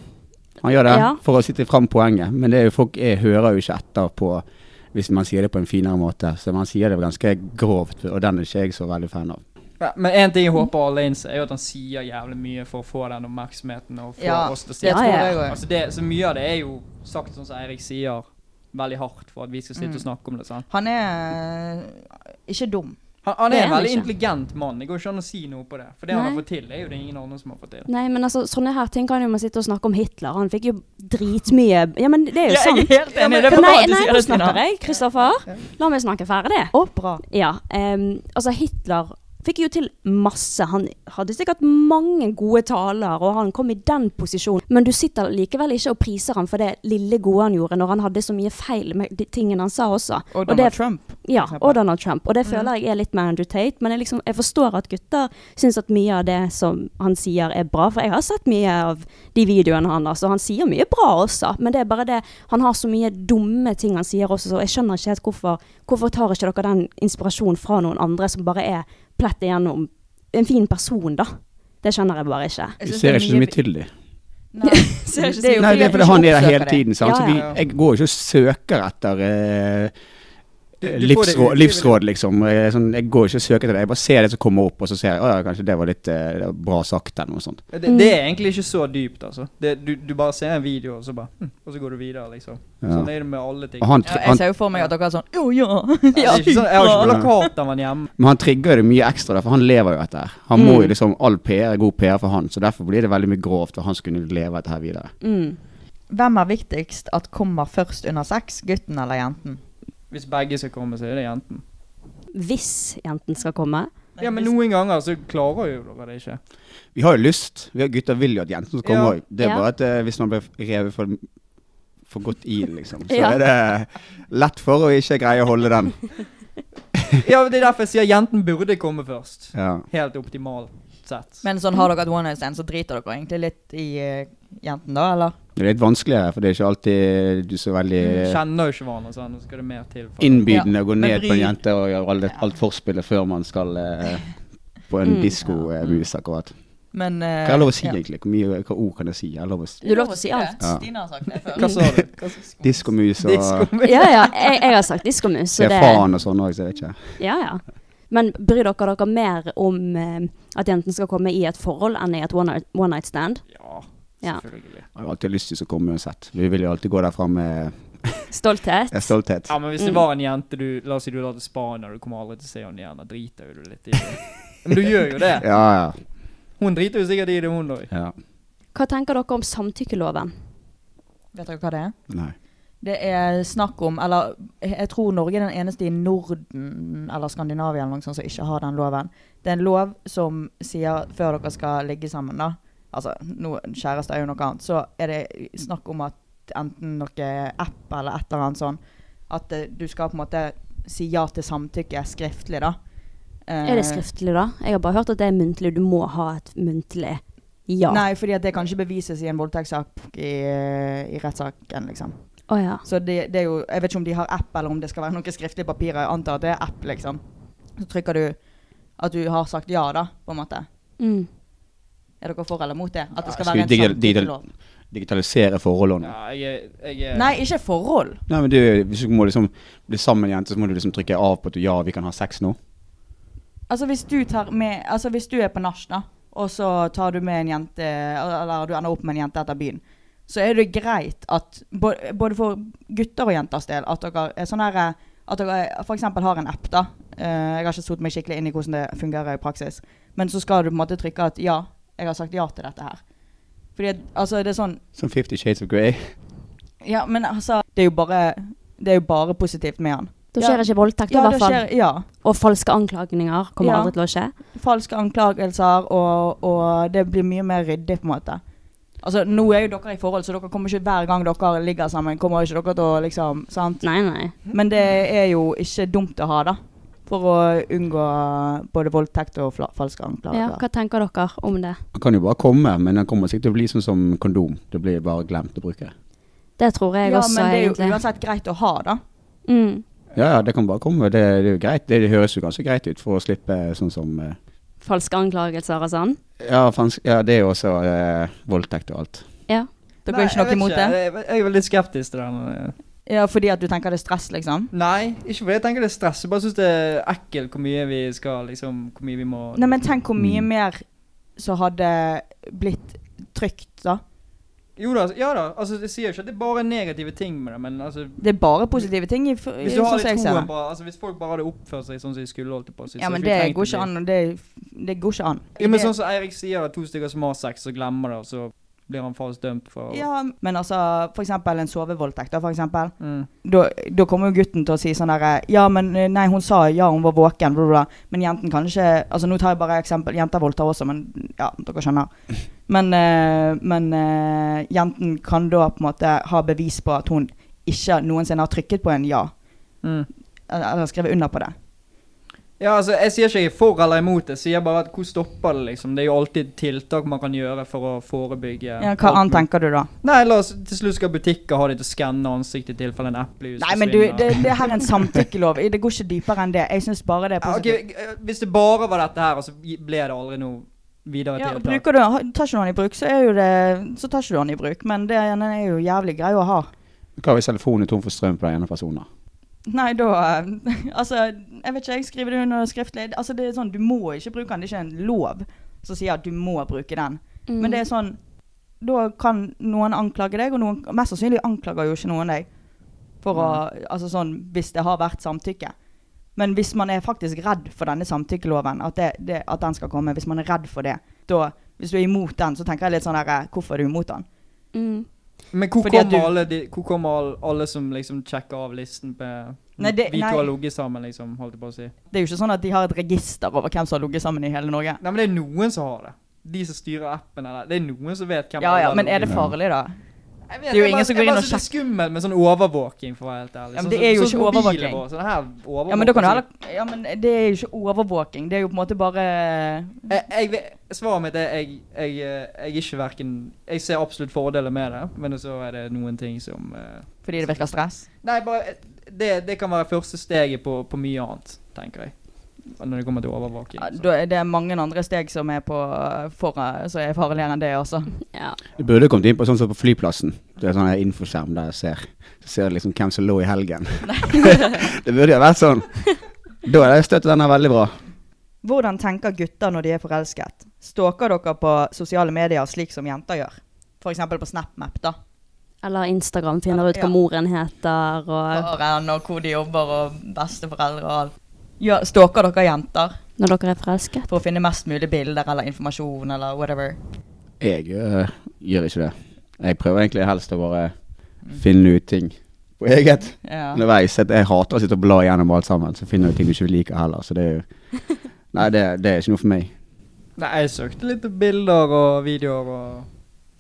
Speaker 6: Han gjør det
Speaker 4: Ja.
Speaker 6: for å sitte fram poenget, men det er jo folk jeg hører jo ikke etter på hvis man sier det på en finere måte. Så man sier det ganske grovt, og den er ikke jeg så veldig fan av.
Speaker 9: Ja, men en ting jeg håper alle innser, er jo at han sier jævlig mye for å få den oppmerksomheten. Og få
Speaker 5: Ja,
Speaker 9: oss til å si
Speaker 5: det tror jeg også.
Speaker 9: altså det, Så mye av det er jo sagt sånn som Eirik sier, veldig hardt for at vi skal sitte
Speaker 5: Mm.
Speaker 9: og snakke om det. sant?
Speaker 5: Han er eh, ikke dum.
Speaker 9: Han, han
Speaker 5: Det
Speaker 9: er
Speaker 5: er
Speaker 9: en
Speaker 5: han
Speaker 9: veldig
Speaker 5: ikke.
Speaker 9: intelligent mann. Det går ikke an å si noe på det. For det han har fått til, er jo det ingen andre som har fått til.
Speaker 4: Nei, men altså, sånne her ting kan jo man sitte og snakke om Hitler. Han fikk jo dritmye Ja, men det er
Speaker 5: Ja,
Speaker 4: jo
Speaker 5: jeg er
Speaker 4: sant.
Speaker 5: helt enig. Det er
Speaker 4: For
Speaker 5: bra
Speaker 4: nei,
Speaker 5: at du
Speaker 4: nei,
Speaker 5: sier
Speaker 4: nå
Speaker 5: det, Stina.
Speaker 4: snakker jeg, Kristoffer. La meg snakke ferdig.
Speaker 5: Å, bra.
Speaker 4: Ja. em, altså, Hitler fikk jo til masse. Han hadde sikkert mange gode taler, og han kom i den posisjonen. Men du sitter likevel ikke og priser ham for det lille gode han gjorde, når han hadde så mye feil med de tingene han sa også.
Speaker 5: Og Donald
Speaker 4: det-
Speaker 5: Trump.
Speaker 4: Ja,
Speaker 5: eksempel.
Speaker 4: og Donald Trump. Og det
Speaker 5: Mm.
Speaker 4: føler jeg er litt med Andrew Tate, men jeg, liksom, jeg forstår at gutter syns at mye av det som han sier er bra, for jeg har sett mye av de videoene hans, og han sier mye bra også, men det er bare det Han har så mye dumme ting han sier også, så jeg skjønner ikke helt hvorfor Hvorfor tar ikke dere den inspirasjonen fra noen andre som bare er plett igjennom
Speaker 5: en fin person, da. Det skjønner jeg bare ikke.
Speaker 6: Vi ser ikke så mye til dem.
Speaker 5: Ser ikke så
Speaker 6: Nei,
Speaker 5: mye
Speaker 6: det er
Speaker 5: til
Speaker 6: fordi han er der
Speaker 5: Oppsøker
Speaker 6: hele
Speaker 5: det.
Speaker 6: tiden. Sant?
Speaker 5: Ja,
Speaker 6: Så vi,
Speaker 5: ja.
Speaker 6: jeg går ikke og søker etter eh,
Speaker 9: får det
Speaker 6: livsråd,
Speaker 9: ut-
Speaker 6: livsråd, liksom. Eh, Sånn, jeg går ikke og søker etter det. Jeg bare ser det som kommer opp, og så ser jeg at kanskje det var litt eh, det var bra sagt, eller noe sånt.
Speaker 9: Det, det er egentlig ikke så dypt, altså. Det, du, du bare ser en video, og så bare hm, Og så går du videre, liksom.
Speaker 6: Ja.
Speaker 9: Sånn er det med alle ting.
Speaker 6: Og han tr- Ja, jeg han- ser
Speaker 4: jo for meg at dere er sånn Jo, ja.
Speaker 9: Nei, det er ikke sånn, jeg har ikke
Speaker 6: Ja.
Speaker 9: plakat av han hjemme.
Speaker 6: Men han trigger det mye ekstra, der, for han lever jo av dette. her. Han må
Speaker 9: Mm.
Speaker 6: jo liksom, All PR er god PR for han, så derfor blir det veldig mye grovt, og han skulle leve dette her videre.
Speaker 4: Hvem er viktigst at kommer først under sex, gutten eller jenten?
Speaker 9: Hvis begge skal komme, så er det jenten.
Speaker 5: Hvis jenten skal komme.
Speaker 9: Ja, men noen ganger så klarer jo dere det ikke.
Speaker 6: Vi har jo lyst. Vi har gutter vil jo at jenten skal komme
Speaker 9: Ja.
Speaker 6: òg. Det er
Speaker 9: Ja.
Speaker 6: bare at eh, hvis man blir revet for, for godt i den, liksom, så
Speaker 9: Ja.
Speaker 6: er det lett for å ikke greie å holde den.
Speaker 9: Ja, Det er derfor jeg sier jenten burde komme først.
Speaker 6: Ja.
Speaker 9: Helt optimalt sett.
Speaker 4: Men sånn har dere et one night stand, så driter dere egentlig litt i eh, jenten da, eller?
Speaker 6: Det er litt vanskeligere, for det er ikke alltid du så veldig
Speaker 9: Mm, Kjenner jo ikke hverandre sånn, så skal det mer til. for-
Speaker 6: innbydende å
Speaker 9: Ja,
Speaker 6: gå
Speaker 9: men
Speaker 6: ned på en
Speaker 9: bry-
Speaker 6: jente og gjøre alt, alt forspillet før man skal eh, på en
Speaker 4: Mm.
Speaker 6: diskomus, akkurat.
Speaker 4: Men
Speaker 6: Hva
Speaker 4: eh,
Speaker 6: er lov å si,
Speaker 4: ja.
Speaker 6: egentlig? Hvor mye, hva ord kan jeg si? Jeg har lov å
Speaker 5: Du har lov til å si alt.
Speaker 6: Ja.
Speaker 4: Stine har sagt det før.
Speaker 9: Hva sa du? Hva sa du?
Speaker 6: Diskomus og
Speaker 9: Diskomus.
Speaker 5: Ja, ja. Jeg, jeg har sagt diskomus.
Speaker 6: Se
Speaker 5: så det-
Speaker 6: faen og sånn òg, så jeg vet ikke.
Speaker 5: Ja, ja. Men bryr dere dere mer om eh, at jenten skal komme i et forhold enn i et one night, one night stand? Ja.
Speaker 6: Jeg har jo alltid lyst til å komme uansett. Vi vil jo alltid gå derfra med
Speaker 5: Stolthet.
Speaker 6: Ja, stolthet.
Speaker 9: Ja, men hvis det var en jente du La oss si du drar til Spania, du kommer aldri til å se henne igjen. Da driter jo du litt i det. Men du gjør jo det.
Speaker 6: Ja, ja.
Speaker 9: Hun driter jo sikkert i det, hun òg.
Speaker 6: Ja.
Speaker 5: Hva tenker dere om samtykkeloven?
Speaker 4: Vet dere hva det er?
Speaker 6: Nei.
Speaker 4: Det er snakk om, eller jeg tror Norge er den eneste i Norden eller Skandinavia eller noe sånt som ikke har den loven. Det er en lov som sier før dere skal ligge sammen, da. Altså, nå kjæreste er jo noe annet. Så er det snakk om at enten noe app eller et eller annet sånn, at eh, du skal på en måte si ja til samtykke skriftlig, da.
Speaker 5: Er
Speaker 4: Eh,
Speaker 5: det skriftlig, da? Jeg har bare hørt at det er muntlig. Du må ha et muntlig ja.
Speaker 4: Nei, fordi at det kan ikke bevises i en voldtektssak i, i rettssaken, liksom.
Speaker 5: Å ja.
Speaker 4: Så det, det er jo Jeg vet ikke om de har app, eller om det skal være noe skriftlig papir. Jeg antar at det er app, liksom. Så trykker du at du har sagt ja, da, på en måte.
Speaker 5: Mm.
Speaker 4: Er dere for eller mot det? At det skal
Speaker 6: Mm. Skal vi
Speaker 4: være en
Speaker 6: digital,
Speaker 4: samtykkelov?
Speaker 6: digitalisere forholdene?
Speaker 9: Ja, jeg, jeg er
Speaker 4: Nei, ikke forhold.
Speaker 6: Nei, men du, hvis du må liksom bli sammen med en jente, så må du liksom trykke av på at du, ja, vi kan ha sex nå.
Speaker 4: Altså hvis du tar med Altså hvis du er på nach, da, og så tar du med en jente Eller du ender opp med en jente etter byen, så er det greit at bo- Både for gutter og jenters del at dere er sånn her eh, At dere f.eks. har en app, da. Eh, Jeg har ikke satt meg skikkelig inn i hvordan det fungerer i praksis. Men så skal du på en måte trykke at ja, jeg har sagt ja til dette her. Fordi at, altså det er sånn
Speaker 6: Som Fifty Shades of Grey.
Speaker 4: Ja, men altså Det er jo bare, det er jo bare positivt med han.
Speaker 5: Da
Speaker 4: Ja.
Speaker 5: skjer det ikke voldtekt,
Speaker 4: Ja,
Speaker 5: i
Speaker 4: da
Speaker 5: hvert fall.
Speaker 4: skjer- ja.
Speaker 5: Og falske anklagninger kommer
Speaker 4: Ja.
Speaker 5: aldri til å skje.
Speaker 4: falske anklagelser, og, og det blir mye mer ryddig, på en måte. Altså, Nå er jo dere i forhold, så dere kommer ikke hver gang dere ligger sammen. kommer ikke dere til å liksom, sant?
Speaker 5: Nei, nei.
Speaker 4: Men det er jo ikke dumt å ha, da. For å unngå både voldtekt og fla- falske
Speaker 5: Ja,
Speaker 4: anklager.
Speaker 5: hva tenker dere om det?
Speaker 6: Han kan jo bare komme, men han kommer sikkert til å bli sånn som kondom. Det blir bare glemt å bruke.
Speaker 5: Det tror jeg
Speaker 4: Ja,
Speaker 5: også,
Speaker 4: men det er jo
Speaker 5: egentlig.
Speaker 4: uansett greit å ha, da.
Speaker 5: Mm.
Speaker 6: Ja, ja, det kan bare komme. Det, det er jo greit. Det, det høres jo ganske greit ut for å slippe sånn som eh,
Speaker 5: Falske anklagelser og sånn.
Speaker 6: Ja, fans, ja det er jo også eh, voldtekt og alt.
Speaker 5: Ja.
Speaker 4: Dere er ikke noe imot det?
Speaker 9: Jeg, jeg er veldig skeptisk til det. men-
Speaker 4: Ja, Fordi at du tenker det er stress, liksom?
Speaker 9: Nei, ikke fordi jeg tenker det er stress. Jeg bare syns det er ekkelt hvor mye vi skal liksom Hvor mye vi må
Speaker 4: Nei, men tenk hvor mye mer som hadde blitt trygt, da.
Speaker 9: Jo da, ja da. Altså, jeg sier jo ikke at det er bare negative ting med det, men altså
Speaker 4: Det er bare positive ting. I, f-
Speaker 9: Hvis du har
Speaker 4: sånn som jeg
Speaker 9: litt
Speaker 4: ser det.
Speaker 9: troen på Altså, hvis folk bare hadde oppført seg sånn som de skulle, holdt jeg på å si. så
Speaker 4: Ja, men
Speaker 9: hadde vi
Speaker 4: det
Speaker 9: trengt
Speaker 4: går
Speaker 9: å bli-
Speaker 4: ikke an. og Det, det går ikke an.
Speaker 9: Ja, men sånn som Eirik sier, at to stykker som har sex, så glemmer det, og så blir han faktisk dømt for
Speaker 4: Ja, men altså, for eksempel en sovevoldtekt, da, for eksempel.
Speaker 9: Mm.
Speaker 4: Da, da kommer jo gutten til å si sånn derre Ja, men eh, nei, hun sa ja, hun var våken, bla, bla, bla. Men jenten kan ikke Altså, nå tar jeg bare eksempel. Jenter voldtar også, men ja, dere skjønner. Men, eh, men eh, jenten kan da på en måte ha bevis på at hun ikke noensinne har trykket på en ja.
Speaker 9: Mm.
Speaker 4: Eller skrevet under på det.
Speaker 9: Ja, altså, Jeg sier ikke jeg er for eller imot det, jeg sier bare at hvor stopper det, liksom? Det er jo alltid tiltak man kan gjøre for å forebygge
Speaker 5: Ja, hva annet tenker du da?
Speaker 9: Nei, la oss til slutt skal butikker ha de til å skanne ansiktet i tilfelle en eplejus
Speaker 5: Nei, men du, det, det her er en samtykkelov. Det går ikke dypere enn det. Jeg syns bare det er
Speaker 9: Ja, ok,
Speaker 5: positivt.
Speaker 9: eh, Hvis det bare var dette her, og så gi- ble det aldri noe videre
Speaker 5: Ja,
Speaker 9: tiltak
Speaker 5: bruker du, har- tar ikke du den i bruk, så, er jo det, så tar ikke du den i bruk. Men det den er jo jævlig grei å ha.
Speaker 6: Hva hvis telefonen er tom for strøm på den ene personen?
Speaker 5: Nei, da Altså, jeg vet ikke, jeg skriver det under skriftlig. Altså, det er sånn, du må ikke bruke den. Det er ikke en lov som sier at du må bruke den.
Speaker 4: Mm.
Speaker 5: Men det er sånn Da kan noen anklage deg, og noen mest sannsynlig anklager jo ikke noen deg. For å Altså sånn Hvis det har vært samtykke. Men hvis man er faktisk redd for denne samtykkeloven, at, det, det, at den skal komme, hvis man er redd for det, da Hvis du er imot den, så tenker jeg litt sånn her Hvorfor er du imot den?
Speaker 9: Men hvor
Speaker 5: Fordi at
Speaker 9: kommer,
Speaker 5: du-
Speaker 9: alle, de, hvor kommer all- alle som liksom sjekker av listen på
Speaker 5: Nei, det-
Speaker 9: Mm. Vi
Speaker 5: nei.
Speaker 9: to har ligget sammen, liksom, holdt jeg på å si.
Speaker 5: Det er jo ikke sånn at de har et register over hvem som har ligget sammen i hele Norge.
Speaker 9: Nei, men det er noen som har det. De som styrer appen eller Det er noen som vet hvem
Speaker 5: Ja,
Speaker 9: alle
Speaker 5: ja,
Speaker 9: har
Speaker 5: men er
Speaker 9: ligget
Speaker 5: det
Speaker 9: med.
Speaker 5: farlig, da?
Speaker 9: Jeg
Speaker 5: Det
Speaker 9: vet,
Speaker 5: er jo
Speaker 9: jeg
Speaker 5: ingen
Speaker 9: bare-
Speaker 5: som går
Speaker 9: jeg
Speaker 5: inn
Speaker 9: bare
Speaker 5: og
Speaker 9: synes det er
Speaker 5: sjekker.
Speaker 9: skummelt med sånn overvåking, for å være helt ærlig.
Speaker 5: Ja, men
Speaker 9: Sånn
Speaker 5: det
Speaker 9: som-
Speaker 5: er jo
Speaker 9: sånn som
Speaker 5: ikke
Speaker 9: mobilen
Speaker 5: overvåking.
Speaker 9: vår, sånn her overvåking.
Speaker 5: Ja, men da kan du heller Ja, men det er jo ikke overvåking. Det er jo på en måte bare
Speaker 9: jeg, jeg, vet- Svaret mitt er jeg, jeg, eh, jeg er ikke hverken Jeg ser absolutt fordeler med det, men så er det noen ting som eh,
Speaker 5: Fordi det virker stress?
Speaker 9: Nei, bare det, det kan være første steget på, på mye annet, tenker jeg. Når det kommer til overvåking.
Speaker 5: Ja, da er det mange andre steg som er på eh, foran, som er farligere enn det også.
Speaker 4: Ja.
Speaker 6: Du burde kommet inn på sånn som på flyplassen. Det er sånn her infoskjerm der jeg ser Så ser du liksom hvem som lå i helgen. det burde jo vært sånn. Da hadde jeg støttet denne veldig bra.
Speaker 5: Hvordan tenker gutter når de er forelsket? Stalker dere på sosiale medier slik som jenter gjør? F.eks. på SnapMap, da.
Speaker 4: Eller Instagram finner ut hva
Speaker 5: Ja.
Speaker 4: moren heter og
Speaker 5: Faren og hvor de jobber og besteforeldre og alt. Ja, stalker dere jenter
Speaker 4: Når dere er forelsket.
Speaker 5: for å finne mest mulig bilder eller informasjon eller whatever?
Speaker 6: Jeg øh, gjør ikke det. Jeg prøver egentlig helst å bare finne ut ting på eget
Speaker 5: Ja.
Speaker 6: underveis. At Jeg hater å sitte og bla gjennom alt sammen, så finner du ting du ikke liker heller. Så det er jo Nei, det, det er ikke noe for meg.
Speaker 9: Nei, jeg søkte litt bilder og videoer og,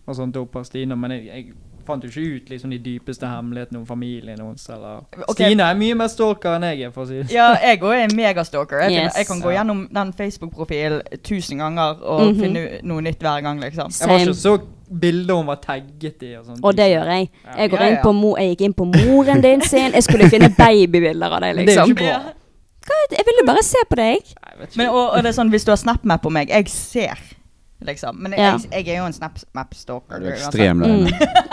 Speaker 9: og sånt opp av Stina, men jeg, jeg fant jo ikke ut liksom de dypeste hemmelighetene om familien hennes eller
Speaker 5: Ok.
Speaker 9: Stina er mye mer stalker enn jeg er, for å si det
Speaker 5: Ja, jeg òg er en megastalker. Jeg, kan-
Speaker 9: Yes.
Speaker 5: jeg kan gå
Speaker 9: Ja.
Speaker 5: gjennom den Facebook-profilen tusen ganger og
Speaker 4: Mhm.
Speaker 5: finne u- noe nytt hver gang, liksom.
Speaker 9: Jeg var ikke så bilder hun var tagget i og sånt.
Speaker 4: Og det gjør jeg. Jeg, går
Speaker 5: Ja,
Speaker 4: inn
Speaker 5: ja.
Speaker 4: på mo jeg gikk inn på moren din sin. Jeg skulle finne babybilder av deg,
Speaker 9: Men det er jo ikke
Speaker 4: liksom.
Speaker 9: bra.
Speaker 4: Hva, er det? jeg ville bare se på deg.
Speaker 5: Men, og, og det er sånn, hvis du har SnapMap på meg Jeg ser, liksom. Men jeg,
Speaker 4: Ja.
Speaker 5: jeg, jeg er jo en SnapMap-stalker.
Speaker 6: Du er
Speaker 5: uansett.
Speaker 6: ekstrem der inne.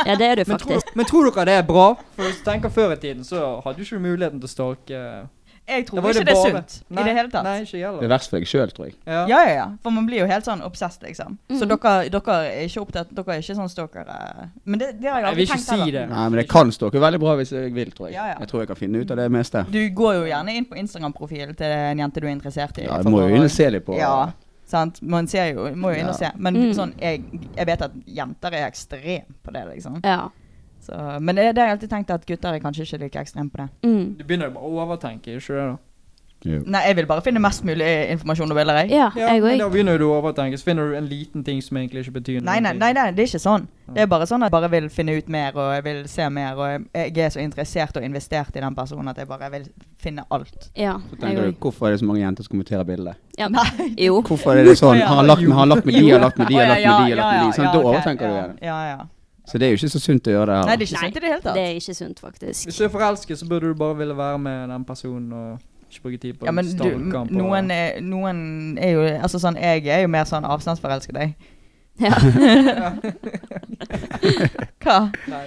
Speaker 4: Ja, det er du
Speaker 9: Men tror,
Speaker 4: faktisk.
Speaker 9: men tror dere det er bra? For hvis du tenker før i tiden, så hadde du ikke muligheten til å stalke
Speaker 5: Jeg tror
Speaker 9: Da var
Speaker 5: ikke
Speaker 9: det
Speaker 5: det er
Speaker 9: bare-
Speaker 5: sunt
Speaker 9: Nei,
Speaker 5: i det hele tatt.
Speaker 9: Nei, ikke
Speaker 6: Det er
Speaker 9: heller.
Speaker 6: verst for deg sjøl, tror jeg.
Speaker 9: Ja.
Speaker 5: Ja, ja, ja. For man blir jo helt sånn obsessed, liksom. Så dere, dere er ikke opptatt Dere er ikke sånn stalkere. Men det, det har jeg
Speaker 9: Jeg
Speaker 5: aldri
Speaker 9: vil ikke
Speaker 5: tenkt
Speaker 9: si
Speaker 5: heller.
Speaker 9: det.
Speaker 6: Nei, men jeg kan stalke veldig bra hvis jeg vil, tror jeg.
Speaker 5: Ja, ja.
Speaker 6: Jeg tror jeg kan finne ut av det meste.
Speaker 5: Du går jo gjerne inn på Instagram-profilen til en jente du er interessert i.
Speaker 6: Ja, jeg
Speaker 5: for
Speaker 6: må
Speaker 5: å-
Speaker 6: jo inn og se litt på
Speaker 5: Ja, sant. Man ser jo, må jo inn og se.
Speaker 6: Ja.
Speaker 5: Men
Speaker 4: Mm.
Speaker 5: sånn, jeg, jeg vet at jenter er ekstrem på det, liksom.
Speaker 4: Ja.
Speaker 5: Så, men det, det har jeg alltid tenkt at gutter er kanskje ikke like ekstrem på det.
Speaker 4: Mm.
Speaker 9: Du begynner jo bare å overtenke, ikke det da?
Speaker 5: Nei, jeg vil bare finne mest mulig informasjon og bilder, jeg.
Speaker 4: ja, jeg
Speaker 9: men
Speaker 4: òg.
Speaker 9: da begynner jo du å overtenke, så finner du en liten ting som egentlig ikke betyr noe.
Speaker 5: Nei, nei, nei, nei, det er ikke sånn. Det er bare sånn at jeg bare vil finne ut mer, og jeg vil se mer, og jeg, jeg er så interessert og investert i den personen at jeg bare vil finne alt.
Speaker 4: Ja,
Speaker 6: Så
Speaker 4: jeg
Speaker 6: tenker du,
Speaker 4: òg.
Speaker 6: hvorfor er det så mange jenter som kommenterer bildet?
Speaker 4: Ja.
Speaker 5: Nei.
Speaker 4: Jo.
Speaker 6: Hvorfor er det sånn?
Speaker 5: Ja.
Speaker 6: Har han lagt med, har han lagt med de, har han lagt med de, har han lagt med de, har han lagt med de. Sånn, da
Speaker 5: ok,
Speaker 6: overtenker du
Speaker 5: ja,
Speaker 6: igjen.
Speaker 5: Ja, ja.
Speaker 6: Så det er jo ikke så sunt å gjøre det
Speaker 5: Nei,
Speaker 6: her.
Speaker 5: det er ikke sant i det hele
Speaker 4: Det
Speaker 5: tatt.
Speaker 4: er ikke sunt, faktisk.
Speaker 9: Hvis du er forelsket, så burde du bare ville være med den personen og ikke bruke tid på
Speaker 5: Ja, men du,
Speaker 9: stalke han på-
Speaker 5: noen, er, noen er jo Altså sånn, jeg er jo mer sånn avstandsforelsket, jeg.
Speaker 4: Ja.
Speaker 5: Hva?
Speaker 9: Nei,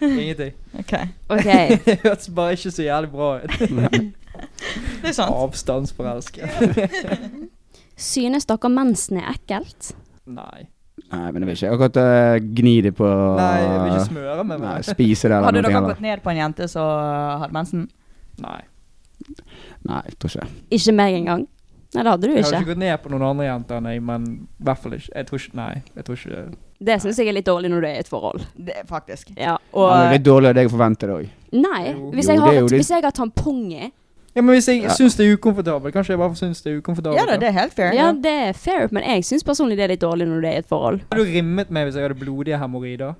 Speaker 9: ingenting.
Speaker 5: Ok.
Speaker 4: OK.
Speaker 9: det hørtes bare ikke så jævlig bra ut.
Speaker 5: Det er sant.
Speaker 9: Avstandsforelsket.
Speaker 4: Synes dere mensen er ekkelt?
Speaker 9: Nei.
Speaker 6: Nei, men jeg vil ikke akkurat eh, gni det på
Speaker 9: Nei, jeg vil ikke smøre
Speaker 6: Nei,
Speaker 9: meg med det.
Speaker 6: spise det eller
Speaker 5: Hadde
Speaker 6: noe
Speaker 5: dere
Speaker 6: heller.
Speaker 5: gått ned på en jente som hadde mensen?
Speaker 9: Nei.
Speaker 6: Nei, jeg tror ikke
Speaker 4: Ikke meg engang? Nei, det hadde du
Speaker 9: Jeg har
Speaker 4: ikke.
Speaker 9: ikke gått ned på noen andre jenter, nei, men i hvert fall ikke. Jeg tror ikke Nei. Jeg tror ikke
Speaker 4: Det syns jeg er litt dårlig når du er i et forhold.
Speaker 5: Det, faktisk.
Speaker 6: Ja,
Speaker 4: Ja.
Speaker 6: men Det
Speaker 5: Og
Speaker 6: er dårlig av deg å forvente det òg.
Speaker 4: Nei.
Speaker 9: Jo.
Speaker 6: Jo,
Speaker 4: Hvis jeg
Speaker 6: det
Speaker 4: har,
Speaker 6: er jo
Speaker 4: et-
Speaker 6: litt-
Speaker 4: hvis jeg har tampong i
Speaker 9: Ja, men hvis jeg
Speaker 6: Ja.
Speaker 9: syns det er ukomfortabelt, kanskje jeg bare syns det er ukomfortabelt.
Speaker 5: Ja da, det er helt fair.
Speaker 4: Ja, det er fair, men jeg syns personlig det er litt dårlig når du er i et forhold.
Speaker 9: Hadde du rimmet meg hvis jeg hadde blodige hemoroider?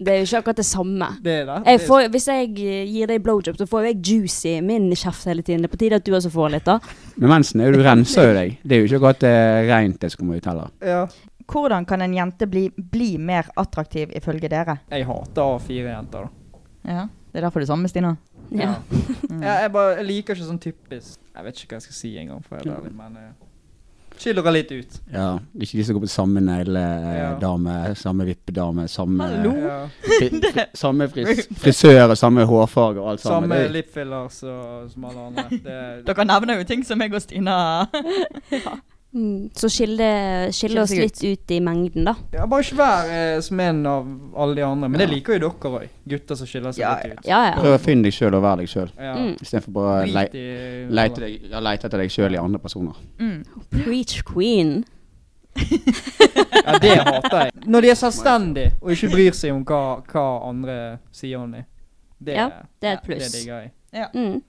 Speaker 4: Det er jo ikke akkurat det samme.
Speaker 9: Det er det.
Speaker 4: Jeg
Speaker 9: Det er-
Speaker 4: får, hvis jeg eh, gir deg blowjob, så får jo jeg juice i min kjeft hele tiden. Det er på tide at du også får litt, da.
Speaker 6: Men mensen er jo du renser jo deg. Det er jo ikke akkurat eh, rent det som kommer ut heller.
Speaker 5: Hvordan kan en jente bli, bli mer attraktiv, ifølge dere?
Speaker 9: Jeg hater A4-jenter, da.
Speaker 5: Ja, Det er derfor du er sammen med Stina? Mm.
Speaker 4: Ja.
Speaker 9: Jeg, jeg, bare, jeg liker ikke sånn typisk Jeg vet ikke hva jeg skal si engang, for jeg er ærlig, men eh, Skiller det litt ut.
Speaker 6: Ja, Ikke de som går på samme
Speaker 9: Ja.
Speaker 6: negledame, samme vippedame, samme
Speaker 9: Hallo!
Speaker 6: Fri, fri, samme fris, frisør og samme hårfarge og alt sammen.
Speaker 9: Samme
Speaker 6: Det-
Speaker 9: lipfillers og som alle andre. Det,
Speaker 10: Dere nevner jo ting som jeg og Stina
Speaker 4: Mm, Så skille, skille
Speaker 10: Skille
Speaker 4: oss
Speaker 10: seg
Speaker 4: litt ut i mengden, da.
Speaker 9: ja, bare ikke vær eh, som en av alle de andre. Men det liker jo dere òg. Gutter som skiller seg litt ut.
Speaker 4: Ja, ja.
Speaker 6: Prøv å finne deg sjøl og være deg sjøl,
Speaker 9: Ja.
Speaker 4: Mm.
Speaker 6: istedenfor bare å
Speaker 9: Drit
Speaker 6: le,
Speaker 9: i-
Speaker 6: leite, deg, ja, leite etter deg sjøl i andre personer.
Speaker 4: Preach queen.
Speaker 9: Ja, det hater jeg. Når de er selvstendige og ikke bryr seg om hva, hva andre sier om dem. Det,
Speaker 4: Ja, det er et
Speaker 9: ja,
Speaker 4: pluss.
Speaker 9: Det digger jeg.
Speaker 4: Mm.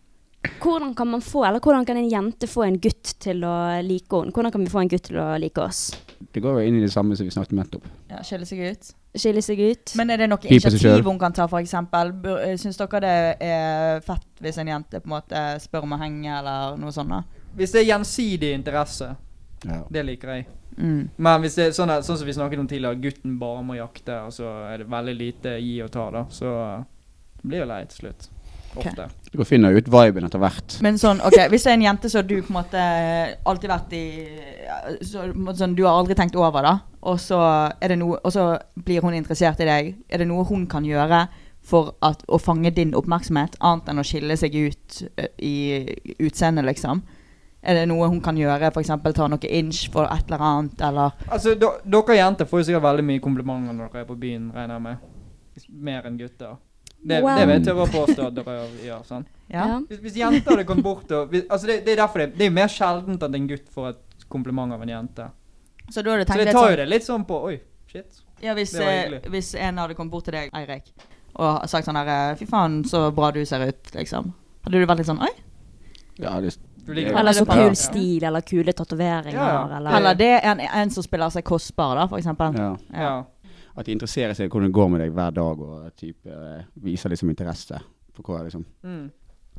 Speaker 4: Hvordan kan man få, eller hvordan kan en jente få en gutt til å like henne? Hvordan kan vi få en gutt til å like oss?
Speaker 6: Det går jo inn i det samme som vi snakket om nettopp.
Speaker 5: Ja, Skille seg ut.
Speaker 4: Skille seg ut?
Speaker 5: Men er det noe
Speaker 6: Pipe seg
Speaker 5: initiativ
Speaker 6: selv.
Speaker 5: hun kan ta, f.eks.? Syns eh, dere det er fett hvis en jente på en måte spør om å henge, eller noe sånt? da?
Speaker 9: Hvis det er gjensidig interesse, det liker jeg.
Speaker 5: Mm.
Speaker 9: Men hvis det er sånn, at- sånn som vi snakket om tidligere, gutten bare må jakte, og så er det veldig lite gi og ta, da, så blir det lei til slutt. Ofte.
Speaker 6: Du finner ut viben etter hvert.
Speaker 5: Men sånn, ok, hvis det er en jente som du på en måte eh, alltid vært i så, på en måte sånn, Du har aldri tenkt over da og så, er det noe, og så blir hun interessert i deg. Er det noe hun kan gjøre for at, å fange din oppmerksomhet, annet enn å skille seg ut eh, i utseendet, liksom? Er det noe hun kan gjøre, f.eks. ta noe inch for et eller annet, eller
Speaker 9: Altså, do, dere jenter får jo sikkert veldig mye komplimenter når dere er på byen, regner jeg med. Mer enn gutter. Det,
Speaker 10: Wow.
Speaker 9: det vil jeg tørre å påstå at dere gjør. sant?
Speaker 5: Ja.
Speaker 9: Hvis, hvis jenter hadde kommet bort og hvis, altså det, det er derfor det, det er jo mer sjeldent at en gutt får et kompliment av en jente.
Speaker 5: Så da har du
Speaker 9: Så
Speaker 5: tenkt
Speaker 9: det
Speaker 5: litt
Speaker 9: tar
Speaker 5: sånn-
Speaker 9: jo det litt sånn på Oi, shit.
Speaker 5: Ja, hvis,
Speaker 9: Det var
Speaker 5: eh,
Speaker 9: hyggelig.
Speaker 5: hvis en hadde kommet bort til deg, Eirik, og sagt sånn her eh, Fy faen, så bra du ser ut, liksom. Hadde du vært litt sånn Oi?
Speaker 6: Ja, det,
Speaker 9: Du liker
Speaker 4: Eller så
Speaker 5: Ja.
Speaker 4: kul stil, eller kule tatoveringer, eller
Speaker 5: Eller det er en, en som spiller seg kostbar, da, for eksempel.
Speaker 6: Ja. At de interesserer seg i hvordan det går med deg hver dag, og type, eh, viser liksom interesse for hva liksom.
Speaker 9: Mm.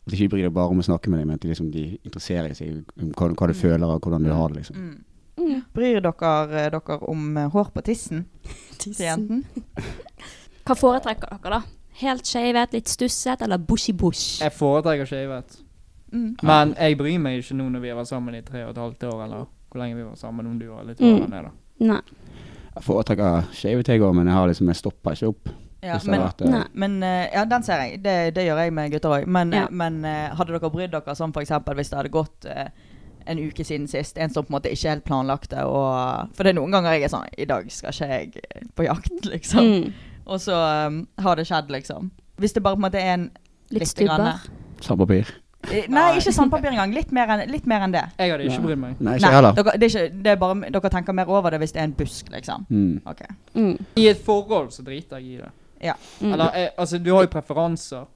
Speaker 6: At de ikke bryr deg bare om å snakke med deg, men at de liksom, de interesserer seg i hva, hva du føler og hvordan du har det. liksom.
Speaker 5: Bryr dere eh, dere om eh, hår på tissen? Til jenten?
Speaker 4: Hva foretrekker dere, da? Helt skeivet, litt stusset, eller bushy-bush?
Speaker 9: Jeg foretrekker skjevet.
Speaker 4: Mm.
Speaker 9: Men jeg bryr meg ikke nå når vi har vært sammen i tre og et halvt år, eller hvor lenge vi var sammen, om du var litt
Speaker 4: Mm.
Speaker 9: over enn det, da.
Speaker 4: Nei.
Speaker 6: Jeg foretrekker skjevet jeg òg, men jeg, har liksom, jeg stopper ikke opp.
Speaker 5: Ja,
Speaker 6: Hvis det
Speaker 5: men,
Speaker 6: har vært, eh,
Speaker 5: men eh, ja, den ser jeg. Det, det gjør jeg med gutter òg. Men,
Speaker 4: Ja.
Speaker 5: men eh, hadde dere brydd dere sånn f.eks. hvis det hadde gått eh, en uke siden sist, en som på en måte ikke helt planlagte og For det er noen ganger jeg er sånn I dag skal ikke jeg eh, på jakt, liksom.
Speaker 4: Mm.
Speaker 5: Og så um, har det skjedd, liksom. Hvis det bare på en måte er en
Speaker 4: Litt
Speaker 5: lite grann-
Speaker 4: stubber.
Speaker 6: Sandpapir.
Speaker 5: Eh, Nei, ikke sandpapir engang. Litt mer enn, litt mer enn det.
Speaker 9: Jeg hadde ikke brydd meg.
Speaker 6: Nei, ikke heller.
Speaker 5: Dere, det er ikke, det er bare, dere tenker mer over det hvis det er en busk, liksom.
Speaker 6: Mm.
Speaker 5: Ok.
Speaker 9: I et forhold så driter jeg i det.
Speaker 5: Ja.
Speaker 4: Mm.
Speaker 9: Eller eh, altså, du har jo preferanser,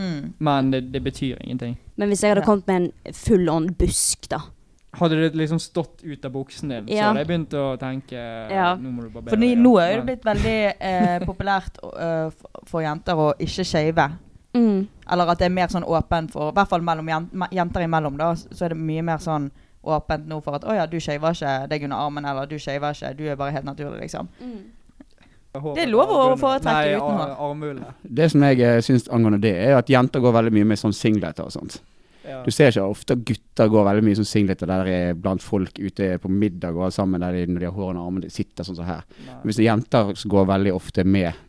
Speaker 5: Mm.
Speaker 9: men det, det betyr ingenting.
Speaker 4: Men hvis jeg hadde
Speaker 5: Ja.
Speaker 4: kommet med en full-on busk, da.
Speaker 9: Hadde det liksom stått ut av buksen din, så
Speaker 4: Ja.
Speaker 9: hadde jeg begynt å tenke
Speaker 4: Ja.
Speaker 9: Nå må du barbere
Speaker 5: Fordi
Speaker 9: deg,
Speaker 5: nå
Speaker 9: ja.
Speaker 5: er det
Speaker 9: Men-
Speaker 5: blitt veldig eh, populært eh, for- for jenter å ikke shave.
Speaker 4: Mm.
Speaker 5: Eller at det er mer sånn åpen for I hvert fall mellom jen- me- jenter imellom, da. Så er det mye mer sånn åpent nå for at å ja, du shaver ikke deg under armen, eller du shaver ikke, du er bare helt naturlig, liksom. Det er lov å foretrekke
Speaker 9: Nei,
Speaker 5: uten hår.
Speaker 9: ar- armhulene.
Speaker 6: Det som jeg eh, syns angående det, er at jenter går veldig mye med sånn singleter og sånt.
Speaker 9: Ja.
Speaker 6: Du ser ikke ofte at gutter går veldig mye sånn singleter der det er blant folk ute på middag og alt sammen, der de, når de har hår under armene, de sitter sånn som her.
Speaker 9: Nei.
Speaker 6: Hvis det er jenter som går veldig ofte med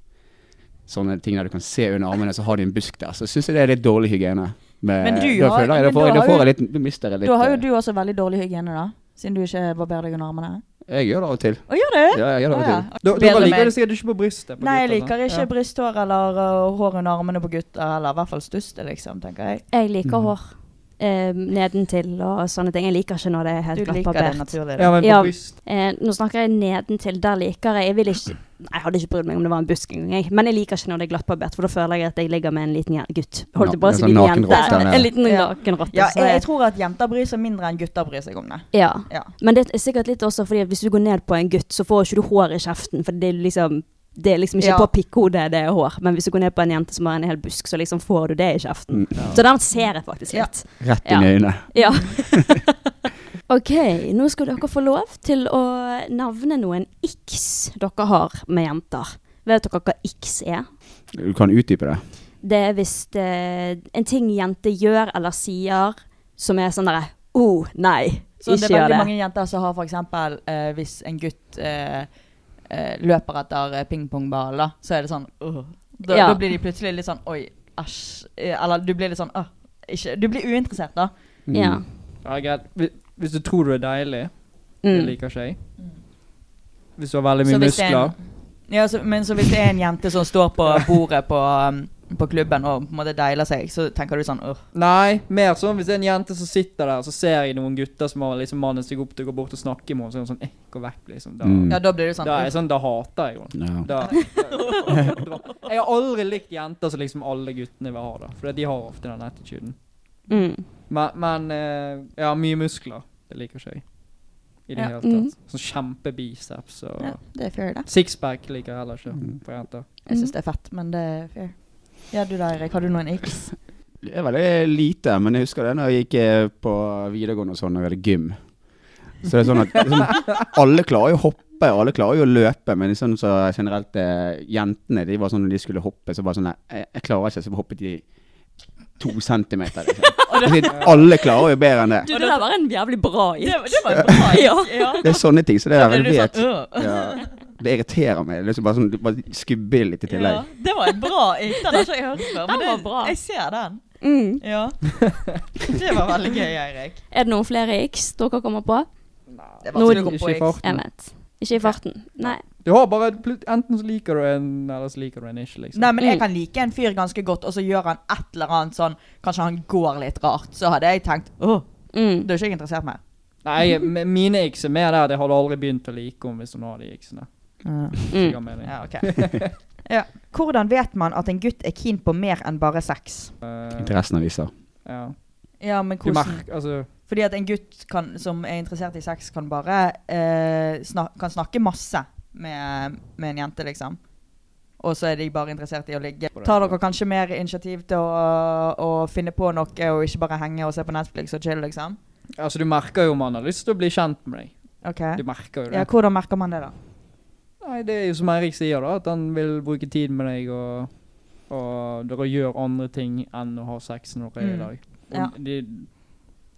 Speaker 6: sånne ting der du kan se under armene, så har de en busk der, så syns jeg det er litt dårlig hygiene. Men,
Speaker 5: Men du
Speaker 6: da
Speaker 5: har-
Speaker 6: føler jeg,
Speaker 5: men
Speaker 6: da får jeg,
Speaker 5: da
Speaker 6: da får
Speaker 5: har
Speaker 6: jeg
Speaker 5: jo-
Speaker 6: litt, da mister jeg litt
Speaker 5: Da har jo
Speaker 6: eh,
Speaker 5: du også veldig dårlig hygiene, da. Siden du ikke barberer deg under armene.
Speaker 6: Jeg gjør det av og til.
Speaker 5: Å, gjør du?
Speaker 6: Ja, jeg gjør det av og
Speaker 5: Å, ja.
Speaker 6: til.
Speaker 9: Da-
Speaker 5: Bedre
Speaker 9: Dere liker
Speaker 5: med-
Speaker 9: det sikkert ikke på brystet. På
Speaker 5: Nei, jeg
Speaker 9: gutter,
Speaker 5: liker
Speaker 9: sant?
Speaker 5: ikke
Speaker 9: Ja.
Speaker 5: brysthår eller uh, hår under armene på gutter, eller i hvert fall stuste, liksom, tenker jeg.
Speaker 4: Jeg liker hår eh, nedentil og sånne ting. Jeg liker ikke når det er helt
Speaker 5: Du liker
Speaker 4: glattbarbert.
Speaker 5: det naturlig, da.
Speaker 9: Ja, men på
Speaker 4: Ja.
Speaker 9: bryst
Speaker 4: Eh, nå snakker jeg nedentil. Der liker jeg Jeg vil ikke Nei, jeg hadde ikke brydd meg om det var en busk engang, jeg. Men jeg liker ikke når det er glattbarbert, for da føler jeg at jeg ligger med en liten jen- gutt. Holdt jeg på å si
Speaker 6: Ja, sånn
Speaker 4: liten
Speaker 6: nakenrotte
Speaker 4: jente.
Speaker 6: der nede.
Speaker 4: En liten
Speaker 5: Ja.
Speaker 4: nakenrotte.
Speaker 5: Ja,
Speaker 4: så
Speaker 5: jeg, jeg
Speaker 4: jeg-
Speaker 5: tror at jenter bryr seg mindre enn gutter bryr seg om det.
Speaker 4: ja.
Speaker 5: Ja.
Speaker 4: Men det er sikkert litt også fordi at hvis du går ned på en gutt, så får ikke du hår i kjeften, for det er liksom
Speaker 9: Det er liksom ikke
Speaker 5: Ja.
Speaker 9: på pikkhodet det er hår, men hvis du går ned på en jente som har en hel busk, så liksom får du det i kjeften.
Speaker 7: Mm. Ja.
Speaker 9: Så den ser jeg faktisk litt.
Speaker 7: Rett inn i øynene.
Speaker 9: Ja. ok, nå skal dere få lov til å navne noen x dere har med jenter. Vet dere hva x er?
Speaker 7: Du kan utdype det.
Speaker 9: Det er hvis det en ting jente gjør eller sier som er sånn derre oh, nei,
Speaker 5: Så det
Speaker 9: ikke
Speaker 5: er
Speaker 9: gjør
Speaker 5: veldig
Speaker 9: det.
Speaker 5: mange jenter som har f.eks. Uh, hvis en gutt eh, eh, løper etter eh, pingpongball, da, så er det sånn «Åh». da,
Speaker 9: Ja.
Speaker 5: da blir de plutselig litt sånn Oi, æsj. Eh, Eller du blir litt sånn «Åh, ikke, Du blir uinteressert, da.
Speaker 9: Ja.
Speaker 4: Ja, greit. Hvis- Hvis du tror du er deilig, det
Speaker 5: Mm.
Speaker 4: liker ikke jeg. Hvis du har veldig
Speaker 5: Så
Speaker 4: mye
Speaker 5: hvis det er
Speaker 4: muskler.
Speaker 5: En, ja, så, men så hvis det er en jente som står på bordet på, um, på klubben og på en måte deiler seg, så tenker du sånn Åh.
Speaker 4: Nei, mer sånn hvis det er en jente som sitter der, så ser jeg noen gutter som har liksom mannen seg opp til å gå bort og snakke med henne, så er hun sånn eh, gå vekk, liksom. Da,
Speaker 7: Mm. Ja,
Speaker 5: da blir du sånn,
Speaker 4: Da, er
Speaker 5: «Uff».
Speaker 4: jeg sånn, da hater jeg
Speaker 7: Ja.
Speaker 4: henne. Da- da- Jeg har aldri likt jenter som liksom alle guttene vil ha, da. For de har ofte den attituden.
Speaker 9: Mm.
Speaker 4: Men, men eh, ja, mye muskler. Det liker ikke jeg. I det
Speaker 5: Ja.
Speaker 4: hele
Speaker 5: Mm.
Speaker 4: tatt. Sånn kjempebiceps og
Speaker 5: Ja, det er fair, det.
Speaker 4: Sixpack liker jeg heller ikke
Speaker 9: Mm.
Speaker 4: på jenter.
Speaker 5: Jeg syns det er fett, men det er fair. Ja, du da, Erik. Har du noen x?
Speaker 7: Det er veldig lite, men jeg husker det når jeg gikk eh, på videregående og sånn, og vi hadde gym. Så det er sånn at liksom, alle klarer jo å hoppe, og alle klarer jo å løpe, men sånn så generelt eh, jentene, de var sånn når de skulle hoppe, så bare sånn nei, jeg, jeg klarer ikke, så hoppet de to centimeter. Liksom. Altså, alle klarer jo bedre enn
Speaker 9: Du,
Speaker 7: det.
Speaker 9: det der var en jævlig bra
Speaker 5: Det,
Speaker 9: x.
Speaker 5: det var en bra x.
Speaker 9: Ja.
Speaker 5: Ja.
Speaker 7: Det er sånne ting, så det der
Speaker 5: Ja, det er
Speaker 7: vet
Speaker 5: litt sånn, øh.
Speaker 7: ja, Det irriterer meg. Liksom bare sånn, du bare skubber litt i tillegg.
Speaker 5: Ja, det var en bra ik. Den har ikke jeg hørt før. Men
Speaker 9: Den var
Speaker 5: det,
Speaker 9: bra.
Speaker 5: jeg ser den.
Speaker 9: Mm.
Speaker 5: Ja. Det var veldig gøy, Eirik.
Speaker 9: Er det noen flere x dere kommer på?
Speaker 5: Det
Speaker 9: Noe-
Speaker 5: vanskelig å komme på
Speaker 4: Ikke i
Speaker 5: X.
Speaker 4: farten.
Speaker 9: Jeg vet. Ikke i farten. Nei.
Speaker 4: Du har bare plut- Enten så liker du en, eller så liker du en ikke, liksom.
Speaker 5: Nei, men
Speaker 9: Mm.
Speaker 5: jeg kan like en fyr ganske godt, og så gjør han et eller annet sånn Kanskje han går litt rart. Så hadde jeg tenkt åh,
Speaker 9: Mm.
Speaker 5: da er ikke jeg interessert mer.
Speaker 4: Nei, m- mine ikser er mer der at jeg hadde aldri begynt å like henne hvis hun har de iksene.
Speaker 5: Ja.
Speaker 4: Ja,
Speaker 5: Mm. Ja, ok. ja. Hvordan vet man at en gutt er keen på mer enn bare sex?
Speaker 7: Interessen av viser.
Speaker 4: Eh, ja.
Speaker 5: Ja, men
Speaker 4: Du
Speaker 5: hvordan?
Speaker 4: merk- altså,
Speaker 5: Fordi at en gutt kan, som er interessert i sex, kan bare eh, snak kan snakke masse med, med en jente, liksom. Og så er de bare interessert i å ligge. Tar dere kanskje mer initiativ til å, å finne på noe, og ikke bare henge og se på Netflix og chill, liksom?
Speaker 4: altså, du merker jo om han har lyst til å bli kjent med deg.
Speaker 5: Ok.
Speaker 4: Du merker jo det.
Speaker 5: Ja, hvordan merker man det, da?
Speaker 4: Nei, det er jo som Eirik sier, da, at han vil bruke tid med deg og, og dere gjør andre ting enn å ha sex når dere er
Speaker 5: Mm.
Speaker 4: i lag. Og
Speaker 5: Ja.
Speaker 4: De,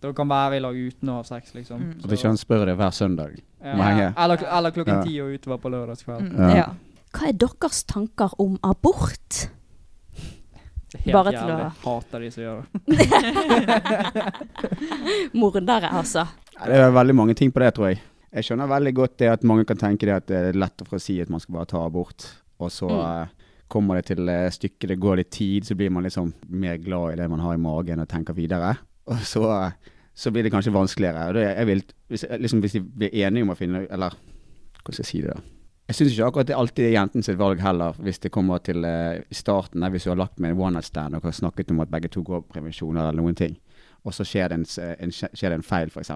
Speaker 4: dere kan være i lag uten å ha sex, liksom.
Speaker 5: Mm.
Speaker 7: At ikke han spør deg hver søndag.
Speaker 4: Ja.
Speaker 7: Må henge.
Speaker 4: Eller, eller klokken
Speaker 7: Ja.
Speaker 4: ti og utover på lørdagskveld.
Speaker 5: Mm, Ja. ja.
Speaker 9: Hva er deres tanker om abort?
Speaker 4: Helt
Speaker 9: Bare til
Speaker 4: jævlig.
Speaker 9: å
Speaker 4: Hater de som gjør det.
Speaker 9: Mordere, altså.
Speaker 7: Ja, Det er veldig mange ting på det, tror jeg. Jeg skjønner veldig godt det at mange kan tenke det at det er lett å si at man skal bare ta abort, og så
Speaker 9: Mm.
Speaker 7: eh, kommer det til eh, stykket, det går litt tid, så blir man liksom mer glad i det man har i magen og tenker videre. Og så, eh, så blir det kanskje vanskeligere. Og det, jeg vil, hvis, liksom, hvis de blir enige om å finne Eller hvordan skal jeg si det, da? Jeg syns ikke akkurat det alltid er jentens valg heller, hvis det kommer til eh, i starten, der, hvis du har lagt med en one night stand og har snakket om at begge to går på prevensjon eller noen ting, og så skjer det en, s- en, skjer det en feil, f.eks.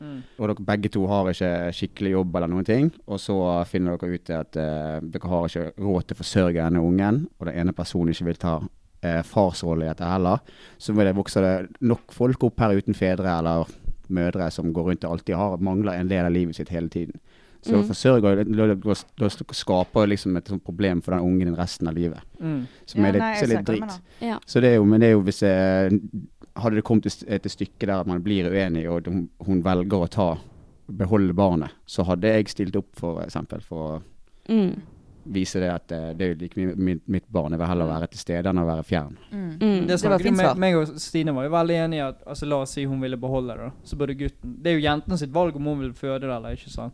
Speaker 4: Mm.
Speaker 7: Og dere begge to har ikke skikkelig jobb eller noen ting, og så finner dere ut at eh, dere har ikke råd til å forsørge denne ungen, og den ene personen ikke vil ta eh, farsrolle i dette heller, så vil det vokse det nok folk opp her uten fedre eller mødre som går rundt og alltid har, mangler en del av livet sitt hele tiden. Så
Speaker 4: Mm.
Speaker 7: forsørger, da- da da skaper liksom et sånt problem for den ungen din resten av livet,
Speaker 4: Mm.
Speaker 7: som
Speaker 5: Ja,
Speaker 7: er litt,
Speaker 5: nei, jeg
Speaker 7: som er
Speaker 5: ser
Speaker 7: litt
Speaker 5: hva du mener.
Speaker 7: drit.
Speaker 9: Ja.
Speaker 7: Så det er jo, men det er jo hvis eh, Hadde det kommet til st- til stykket der at man blir uenig, og hun, hun velger å ta beholde barnet, så hadde jeg stilt opp for eksempel for å
Speaker 9: Mm.
Speaker 7: vise det at eh, det er jo like mye mitt, mitt barn. Jeg vil heller være til stede enn å være fjern.
Speaker 9: Mm.
Speaker 4: Det
Speaker 5: Det var
Speaker 4: snakket
Speaker 5: fint
Speaker 4: vi
Speaker 5: svar.
Speaker 4: om, meg og Stine var jo veldig enige i at altså, la oss si hun ville beholde det, da. Så burde gutten Det er jo jenten sitt valg om hun vil føde det eller ikke, sant.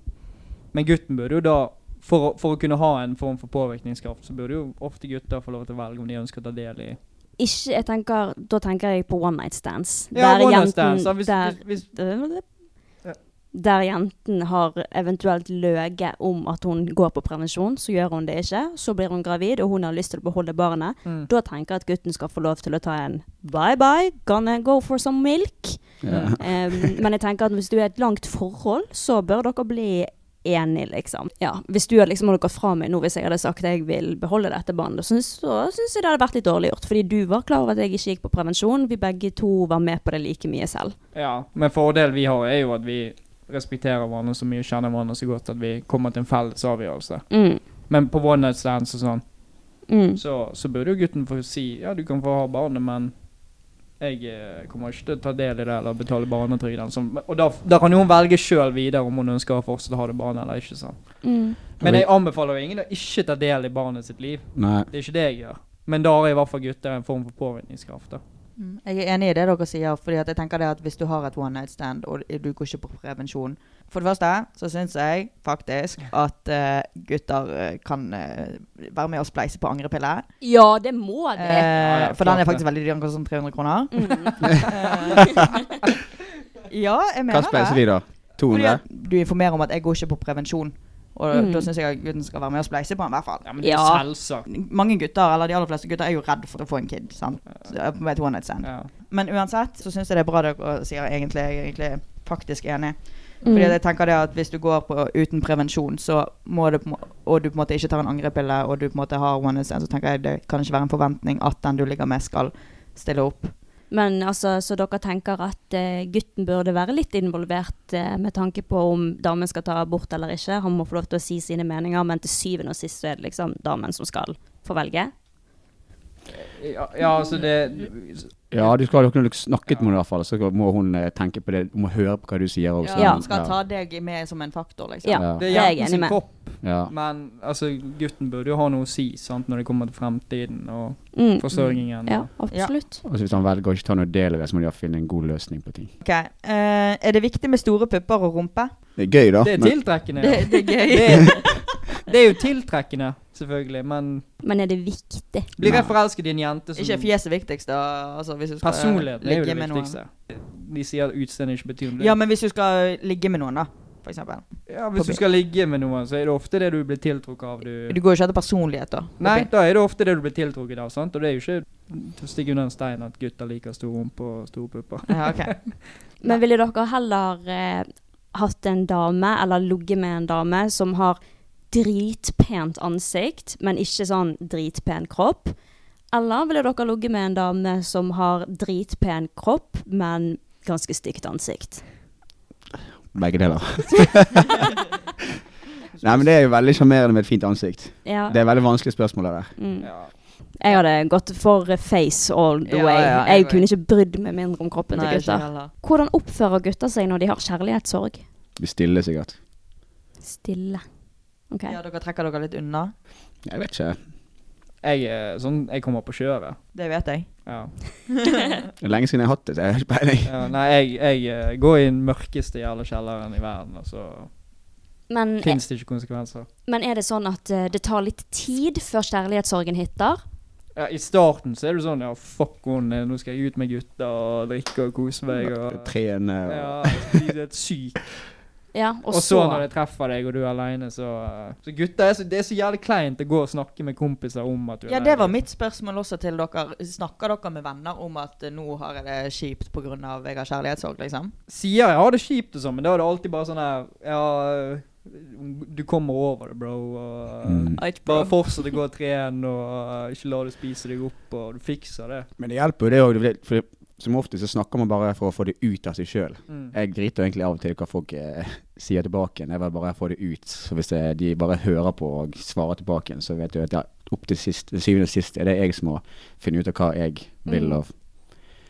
Speaker 4: Men gutten burde jo da for, å- for å kunne ha en form for påvirkningskraft, så burde jo ofte gutter få lov til å velge om de ønsker å ta del i
Speaker 9: Ikke, jeg tenker, da tenker jeg på one night stands.
Speaker 4: Ja,
Speaker 9: Der
Speaker 4: one night
Speaker 9: jenten-
Speaker 4: stands, ja, hvis-
Speaker 9: der,
Speaker 4: hvis- Ja.
Speaker 9: der jenten har eventuelt løyet om at hun går på prevensjon, så gjør hun det ikke. Så blir hun gravid, og hun har lyst til å beholde barnet.
Speaker 4: Mm.
Speaker 9: Da tenker jeg at gutten skal få lov til å ta en bye-bye, gonna go for some milk.
Speaker 7: Ja.
Speaker 9: Em, men jeg tenker at hvis du er i et langt forhold, så bør dere bli
Speaker 4: enig, liksom. Ja, hvis du hadde liksom hadde gått fra meg nå hvis jeg hadde sagt at jeg vil beholde dette båndet, så syns jeg det hadde vært litt dårlig gjort. Fordi du var klar over at jeg ikke gikk på prevensjon. Vi begge to var med på det like mye selv.
Speaker 9: Ja, men fordelen vi har, er jo at vi respekterer hverandre så mye, kjenner hverandre så godt at vi kommer til en felles avgjørelse.
Speaker 4: Mm.
Speaker 9: Men på one night stands og sånn,
Speaker 4: Mm.
Speaker 9: så, så burde jo gutten få si ja, du kan få ha barnet, men jeg eh, kommer ikke til å ta del i det eller betale barnetrygden. Sånn. Og da, da kan jo hun velge sjøl videre om hun ønsker å fortsette å ha det barnet eller ikke. sant?
Speaker 4: Mm.
Speaker 9: Men jeg anbefaler jo ingen å ikke ta del i barnet sitt liv.
Speaker 6: Nei.
Speaker 9: Det er ikke det jeg gjør. Men da har i hvert fall gutter en form for påvirkningskraft. da.
Speaker 5: Mm, Jeg er enig i det dere sier, fordi at jeg tenker det at hvis du har et one night stand og du går ikke på prevensjon For det første så syns jeg faktisk at eh, gutter eh, kan eh, være med og spleise på angrepiller.
Speaker 4: Ja, det må det.
Speaker 5: Eh, for den er faktisk veldig dyr, den koster sånn 300 kroner. Eh, ja, jeg mener
Speaker 6: Hva spleiser vi, da?
Speaker 5: Fordi
Speaker 6: 200?
Speaker 5: at du informerer om at jeg går ikke på prevensjon. Og
Speaker 6: Mm.
Speaker 5: da syns jeg at gutten skal være med og spleise på den, i hvert fall. Ja,
Speaker 9: men det er Ja. selvsagt.
Speaker 5: Mange gutter, eller de aller fleste gutter, er jo redd for å få en kid. Sant? Med et one night stand. Men uansett så syns jeg det er bra dere sier egentlig. Jeg er egentlig faktisk enig. Fordi
Speaker 4: Mm.
Speaker 5: at jeg tenker det at Hvis du går på uten prevensjon, så må du, på en må- og du på en måte ikke tar en angrepille, og du på en måte har one night stand, så tenker jeg det kan ikke være en forventning at den du ligger med, skal stille opp.
Speaker 4: Men altså, så dere tenker at eh, gutten burde være litt involvert eh, med tanke på om damen skal ta abort eller ikke. Han må få lov til å si sine meninger, men til syvende og sist så er det liksom damen som skal få velge.
Speaker 9: Ja, ja altså det
Speaker 6: Ja, du skal ha noen snakket med henne i hvert fall, så må hun eh, tenke på det, hun må høre på hva du sier. Også.
Speaker 7: sånn?
Speaker 5: Ja, han skal ta deg med som en faktor, liksom.
Speaker 6: Ja, Ja.
Speaker 9: Det er jentens kropp,
Speaker 6: Ja.
Speaker 9: men altså, gutten burde jo ha noe å si sant, når det kommer til fremtiden og
Speaker 5: Mm.
Speaker 9: forsørgingen.
Speaker 5: Ja,
Speaker 9: og-
Speaker 5: absolutt.
Speaker 6: Og så hvis han velger å ikke ta noe del i det, så må de finne en god løsning på ting.
Speaker 5: Ok, eh, Er det viktig med store pupper og rumpe?
Speaker 6: Det er gøy, da.
Speaker 9: Det er
Speaker 6: men-
Speaker 9: tiltrekkende.
Speaker 5: Det-
Speaker 9: ja.
Speaker 5: det er gøy.
Speaker 9: Det, det er jo tiltrekkende, selvfølgelig, men
Speaker 4: Men er det viktig?
Speaker 9: blir jeg forelsket i en jente som
Speaker 5: Ikke fjeset viktigst, da. Altså, hvis du skal
Speaker 9: Personligheten er jo
Speaker 5: ligge
Speaker 9: det
Speaker 5: med noen.
Speaker 9: viktigste. De sier at utseende ikke betyr noe.
Speaker 5: Ja, men hvis du skal ligge med noen, da, for eksempel.
Speaker 9: Ja, hvis du skal ligge med noen, så er det ofte det du blir tiltrukket av. Du,
Speaker 5: Du går jo ikke etter personlighet, da.
Speaker 9: Nei, da er det ofte det du blir tiltrukket av, sant? og det er jo ikke til å stikke under en stein at gutter liker stor rumpe og store pupper.
Speaker 5: Ja, ok.
Speaker 4: Men ville dere heller eh, hatt en dame, eller ligget med en dame, som har dritpent ansikt, men ikke sånn dritpen kropp? Eller ville dere ligget med en dame som har dritpen kropp, men ganske stygt ansikt?
Speaker 6: Begge deler. Nei, men det er jo veldig sjarmerende med et fint ansikt.
Speaker 4: Ja.
Speaker 6: Det er veldig vanskelig spørsmål det der.
Speaker 4: Mm. Jeg hadde gått for eh, face all the
Speaker 5: Ja,
Speaker 4: way.
Speaker 5: ja,
Speaker 4: jeg
Speaker 5: jeg
Speaker 4: kunne ikke brydd meg mindre om kroppen
Speaker 5: Nei,
Speaker 4: til
Speaker 5: ikke jeg
Speaker 4: gutter.
Speaker 5: heller.
Speaker 4: Hvordan oppfører gutter seg når de har kjærlighetssorg?
Speaker 6: Vi stiller sikkert.
Speaker 4: Stille. Ok.
Speaker 5: Ja, dere trekker dere litt unna.
Speaker 6: Jeg vet ikke.
Speaker 9: Jeg, er sånn, jeg kommer på kjøret.
Speaker 5: Det vet jeg.
Speaker 9: Ja.
Speaker 6: Det er lenge siden jeg har hatt det, så jeg har ikke peiling.
Speaker 9: ja, nei, jeg, jeg eh, går i den mørkeste jævla kjelleren i verden, og så
Speaker 4: Men,
Speaker 9: fins det ikke konsekvenser.
Speaker 4: men er det sånn at eh, det tar litt tid før kjærlighetssorgen hitter?
Speaker 9: Ja, I starten så er du sånn ja, fuck henne, nå skal jeg ut med gutta og drikke og kose meg og
Speaker 6: Trene og
Speaker 9: Ja, spise helt syk.
Speaker 4: Ja,
Speaker 9: Og, så, når jeg treffer deg og du er aleine, så eh, Så gutter, er så, det er så jævlig kleint å gå og snakke med kompiser om at du er
Speaker 5: Ja, det
Speaker 9: alene.
Speaker 5: var mitt spørsmål også til dere. Snakker dere med venner om at eh, nå har jeg det kjipt pga. jeg har kjærlighetssorg, liksom?
Speaker 9: Sier jeg har det kjipt og sånn, men da er det alltid bare sånn her Ja, du kommer over det, bro. Og
Speaker 6: Mm.
Speaker 5: Right, bro.
Speaker 9: Bare fortsett å gå og trene, og eh, ikke la det spise deg opp, og du fikser det.
Speaker 6: Men det hjelper jo det òg, for det- som oftest så snakker man bare for å få det ut av seg sjøl.
Speaker 9: Mm.
Speaker 6: Jeg driter egentlig av og til hva folk eh, sier tilbake. igjen. Jeg vil bare få det ut. Så hvis eh, de bare hører på og svarer tilbake, igjen, så vet du at ja, opp til sist, til syvende og sist er det jeg som må finne ut av hva jeg vil.
Speaker 4: Mm.
Speaker 6: Og,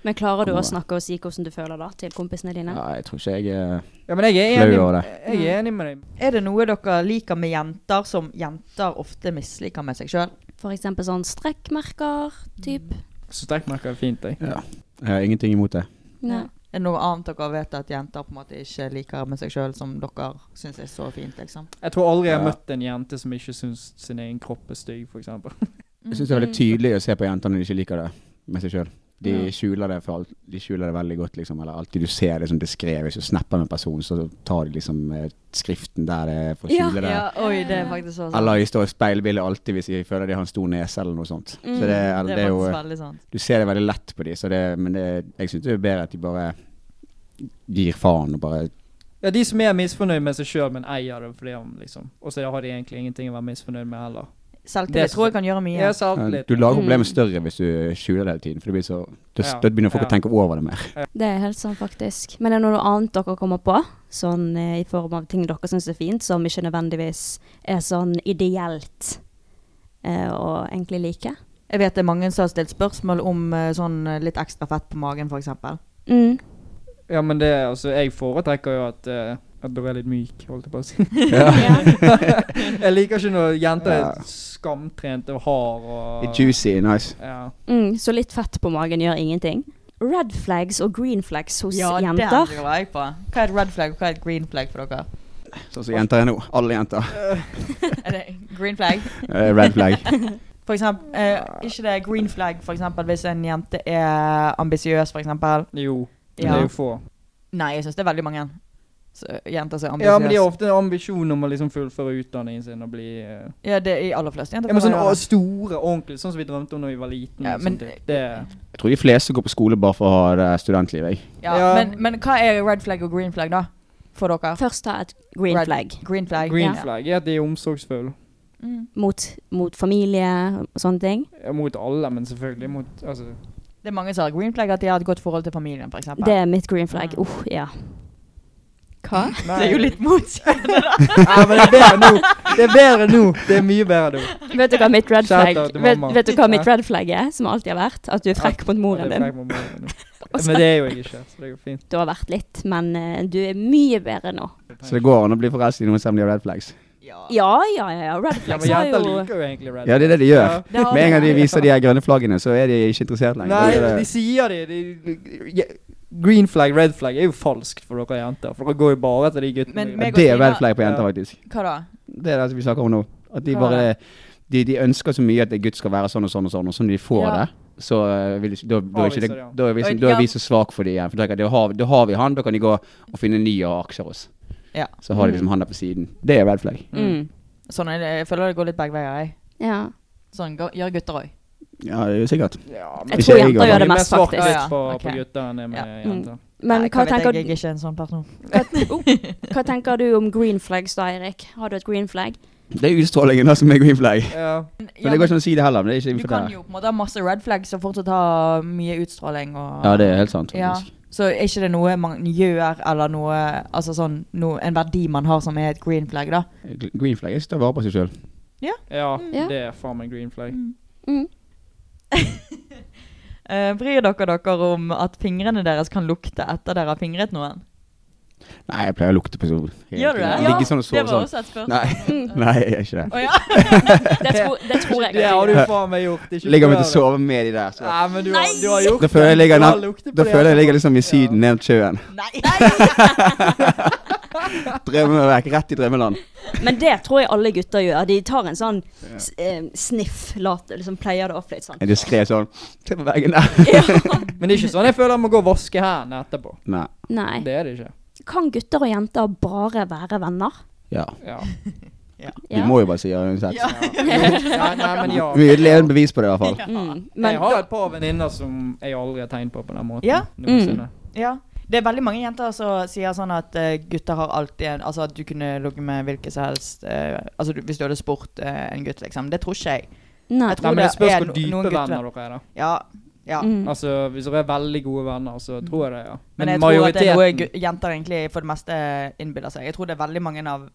Speaker 4: Men klarer du
Speaker 6: Kommer.
Speaker 4: å snakke og si hvordan du føler da, til kompisene dine?
Speaker 6: ja, jeg tror ikke jeg er
Speaker 9: Ja, men jeg er
Speaker 6: flau
Speaker 9: enig,
Speaker 6: over det.
Speaker 9: jeg er enig med deg.
Speaker 5: Er det noe dere liker med jenter som jenter ofte misliker med seg sjøl?
Speaker 4: For eksempel sånn strekkmerker, typ.
Speaker 9: Så strekkmerker er fint, jeg.
Speaker 6: Ja. Jeg har ingenting imot det.
Speaker 4: Nei.
Speaker 5: Er det noe annet dere vet at jenter på en måte ikke liker med seg sjøl, som dere syns er så fint, liksom?
Speaker 9: Jeg tror aldri jeg har
Speaker 6: Ja.
Speaker 9: møtt en jente som ikke syns sin egen kropp er stygg, for eksempel.
Speaker 6: Jeg syns det er veldig tydelig å se på jenter når de ikke liker det med seg sjøl. De
Speaker 9: Ja.
Speaker 6: skjuler det for alt, de skjuler det veldig godt, liksom. Eller alltid du ser det som diskré. Hvis du snapper med en person, så tar de liksom eh, skriften der det er for å skjule det.
Speaker 5: oi, det er faktisk så sant.
Speaker 6: Eller de står i speilbildet alltid hvis de føler de har en stor nese eller noe sånt.
Speaker 5: Mm,
Speaker 6: så det, er-
Speaker 5: det er
Speaker 6: det er jo,
Speaker 5: faktisk veldig sant.
Speaker 6: Du ser det veldig lett på de, så det, men det, jeg syns det er bedre at de bare gir faen og bare
Speaker 9: Ja, de som er misfornøyd med seg sjøl, men eier det fordi om liksom Og så har de egentlig ingenting å være misfornøyd med heller.
Speaker 5: Selvtillit tror jeg kan gjøre mye.
Speaker 9: Ja, selvtillit.
Speaker 6: Du lager problemet større hvis du skjuler det hele tiden. For det blir så, da
Speaker 4: Ja.
Speaker 6: da begynner folk
Speaker 4: Ja.
Speaker 6: å tenke over det mer.
Speaker 4: Det er helt sant, faktisk. Men er det noe annet dere kommer på? Sånn eh, i form av ting dere syns er fint, som ikke nødvendigvis er sånn ideelt eh, å egentlig like?
Speaker 5: Jeg vet det er mange som har stilt spørsmål om eh, sånn eh, litt ekstra fett på magen, f.eks.
Speaker 4: Mm.
Speaker 9: Ja, men det altså Jeg foretrekker jo at eh, At du er litt myk, holdt jeg på å si. jeg liker ikke når jenter
Speaker 6: Ja.
Speaker 9: er skamtrente og hard og
Speaker 6: Litt juicy, nice.
Speaker 9: Ja.
Speaker 4: Mm, så litt fett på magen gjør ingenting? Red flags og green flags hos
Speaker 5: Ja, det
Speaker 4: jenter?
Speaker 5: lurer jeg på. Hva er et red flag, og hva er et green flag for dere?
Speaker 6: Sånn som jenter er nå. Alle jenter.
Speaker 5: er det green flag?
Speaker 6: Eh, red flag.
Speaker 5: For eksempel, eh, ikke det er green flag for eksempel, hvis en jente er ambisiøs, for eksempel?
Speaker 9: Jo,
Speaker 5: Ja.
Speaker 9: det er jo få.
Speaker 5: Nei, jeg syns det er veldig mange så, jenter som er ambisiøse.
Speaker 9: Ja, men de har ofte en ambisjon om å liksom fullføre utdanningen sin og bli eh,
Speaker 5: Ja, det er i aller fleste
Speaker 9: ja,
Speaker 5: jenter.
Speaker 9: men
Speaker 5: kan
Speaker 9: sånn
Speaker 5: være
Speaker 9: å, Store, ordentlige, sånn som vi drømte om da vi var liten.
Speaker 5: Ja,
Speaker 9: og
Speaker 5: men-
Speaker 9: sånt, det, det,
Speaker 6: Jeg tror de fleste går på skole bare for å ha det studentlivet. jeg.
Speaker 5: Ja, Men, men hva er red flag og green flag, da? For dere?
Speaker 4: Først ta et green
Speaker 5: Red-
Speaker 4: flag.
Speaker 5: Green flag.
Speaker 9: green
Speaker 5: Ja.
Speaker 9: flag er at de er omsorgsfulle
Speaker 4: Mot, mot familie og sånne ting.
Speaker 9: Ja, mot alle, men selvfølgelig mot altså,
Speaker 5: Det er mange som har green flag at de har et godt forhold til familien, f.eks.
Speaker 4: Det er mitt green flag. Uff, ja. Hva?
Speaker 5: Det er jo litt motsigende, da.
Speaker 9: Ja, men det er bedre nå. Det er bedre nå. Det er mye bedre nå.
Speaker 4: Vet du hva mitt red
Speaker 9: Shout
Speaker 4: flag
Speaker 9: out til
Speaker 4: vet,
Speaker 9: mamma.
Speaker 4: vet du hva mitt
Speaker 9: Ja.
Speaker 4: red flag er, som alltid har vært? At du er frekk mot moren
Speaker 9: Det er
Speaker 4: din.
Speaker 9: frekk mot moren din.
Speaker 4: Og så-
Speaker 9: Men det er jo jeg ikke, så det går fint.
Speaker 4: Du har vært litt, men eh, du er mye bedre nå.
Speaker 6: Så det går an å bli forelsket i noen som de har red flags.
Speaker 4: Ja, ja, ja. ja. Red
Speaker 9: Ja,
Speaker 4: flags
Speaker 9: men
Speaker 4: har
Speaker 9: jenter
Speaker 4: jo
Speaker 9: liker jo egentlig red
Speaker 6: Ja, det er det de gjør.
Speaker 9: Ja.
Speaker 6: Med en gang de viser de her grønne flaggene, så er de ikke interessert lenger.
Speaker 9: Nei,
Speaker 6: Da er
Speaker 9: de
Speaker 6: det-
Speaker 9: sier det. De, ja, green flag, red flag er jo falskt for dere jenter. For dere går jo bare etter de guttene.
Speaker 5: Men meg og
Speaker 6: det er
Speaker 5: Stina-
Speaker 6: red flag på jenter,
Speaker 9: Ja.
Speaker 6: faktisk.
Speaker 5: Hva da?
Speaker 6: Det er det vi snakker om nå. At de
Speaker 5: Hva
Speaker 6: bare de, de ønsker så mye at en gutt skal være sånn og sånn og sånn, og sånn de får
Speaker 5: Ja.
Speaker 6: det. Så eh, vil, de- da, da, er ikke det,
Speaker 9: Avviser det, ja.
Speaker 6: da, er vi,
Speaker 5: Og-
Speaker 6: da er
Speaker 5: ja.
Speaker 6: vi så svak for de igjen. For da tenker jeg, da har, da har vi han, da kan de gå og finne en ny og ha aksjer hos.
Speaker 5: Ja.
Speaker 6: Så har de liksom han der på siden. Det er red flag.
Speaker 4: Mm.
Speaker 5: Sånn er det, jeg føler det går litt begge veier, jeg.
Speaker 4: Ja.
Speaker 5: Sånn går- gjør gutter òg.
Speaker 6: Ja, det er jo sikkert.
Speaker 4: Jeg
Speaker 6: Ikke
Speaker 4: tror
Speaker 6: jeg
Speaker 4: jenter
Speaker 6: går-
Speaker 4: gjør det
Speaker 9: er
Speaker 4: mest,
Speaker 9: svart
Speaker 4: faktisk.
Speaker 9: litt på,
Speaker 5: Ok.
Speaker 9: på gutter enn det med
Speaker 5: Ja.
Speaker 9: jenter.
Speaker 4: Men hva tenker,
Speaker 5: Jeg, jeg er ikke en sånn person.
Speaker 4: hva, oh, hva tenker du om green flags da, Eirik? Har du et green flag?
Speaker 6: Det er utstrålingen da som er green flag. Men
Speaker 5: Ja,
Speaker 6: det
Speaker 5: men
Speaker 6: går ikke an å si det heller. Men det er ikke
Speaker 5: du
Speaker 6: innenfor
Speaker 5: kan
Speaker 6: det.
Speaker 5: jo på en måte ha masse red flags og fortsatt ha mye utstråling og
Speaker 6: Ja, det er helt sant,
Speaker 5: Ja.
Speaker 6: faktisk.
Speaker 5: Så er ikke det noe man gjør, eller noe Altså sånn noe, en verdi man har som er et green flag, da.
Speaker 6: Green flag er å ta vare på seg sjøl.
Speaker 5: Ja. Mm.
Speaker 9: Ja,
Speaker 5: Ja.
Speaker 9: det er faen meg green flag.
Speaker 5: Eh, bryr dere dere om at fingrene deres kan lukte etter dere har fingret noen?
Speaker 6: Nei, jeg pleier å lukte på sol.
Speaker 5: Gjør du det?
Speaker 6: Ligge sånn og
Speaker 5: det
Speaker 6: sove
Speaker 5: var
Speaker 6: sånn.
Speaker 5: også et spørsmål.
Speaker 6: Nei, Nei, jeg gjør ikke det.
Speaker 5: Å ja.
Speaker 4: Det tror, det tror jeg.
Speaker 9: Det har du faen meg gjort. Ikke
Speaker 6: Ligger meg til å
Speaker 9: prøv det.
Speaker 6: sove med de der. Så.
Speaker 9: Nei, men du, har- du har gjort
Speaker 6: Da føler jeg ligger,
Speaker 9: Du har
Speaker 6: nær-
Speaker 9: luktet på
Speaker 6: da
Speaker 9: det,
Speaker 6: føler jeg
Speaker 9: altså.
Speaker 6: ligger liksom i Syden, ned til sjøen. Drømmer meg vekk, rett i drømmeland.
Speaker 4: Men det tror jeg alle gutter gjør. De tar en sånn s- eh, sniff, lat, liksom pleier det opp litt sånn.
Speaker 6: Jeg diskret sånn Se på veggen der.
Speaker 9: Men det er ikke sånn jeg føler jeg må gå og vaske hendene etterpå.
Speaker 6: Nei.
Speaker 4: Nei.
Speaker 9: Det er det ikke.
Speaker 4: Kan gutter og jenter bare være venner?
Speaker 6: Ja.
Speaker 9: Ja.
Speaker 6: Vi må jo bare si ja uansett.
Speaker 9: Nei, nei, men ja.
Speaker 6: Vi er et levende bevis på det, i hvert fall.
Speaker 4: men
Speaker 9: jeg har et par venninner som jeg aldri har tegnet på på den måten.
Speaker 5: Ja.
Speaker 9: noensinne.
Speaker 5: Ja. Det er veldig mange jenter som sier sånn at eh, gutter har alltid en Altså at du kunne ligget med hvilken som helst eh, Altså du, hvis du hadde spurt eh, en gutt, liksom. Det tror ikke jeg.
Speaker 4: Nei.
Speaker 5: Jeg tror
Speaker 9: Nei, men det spørs
Speaker 5: er
Speaker 9: hvor
Speaker 5: no-
Speaker 9: dype
Speaker 5: noen gutter-
Speaker 9: venner dere er, da.
Speaker 5: Ja. ja.
Speaker 4: Mm.
Speaker 9: Altså, hvis dere er veldig gode venner, så tror jeg det, ja.
Speaker 5: Men, jeg tror at det er noe gu- jenter egentlig for det meste innbiller seg. Jeg tror det er veldig mange av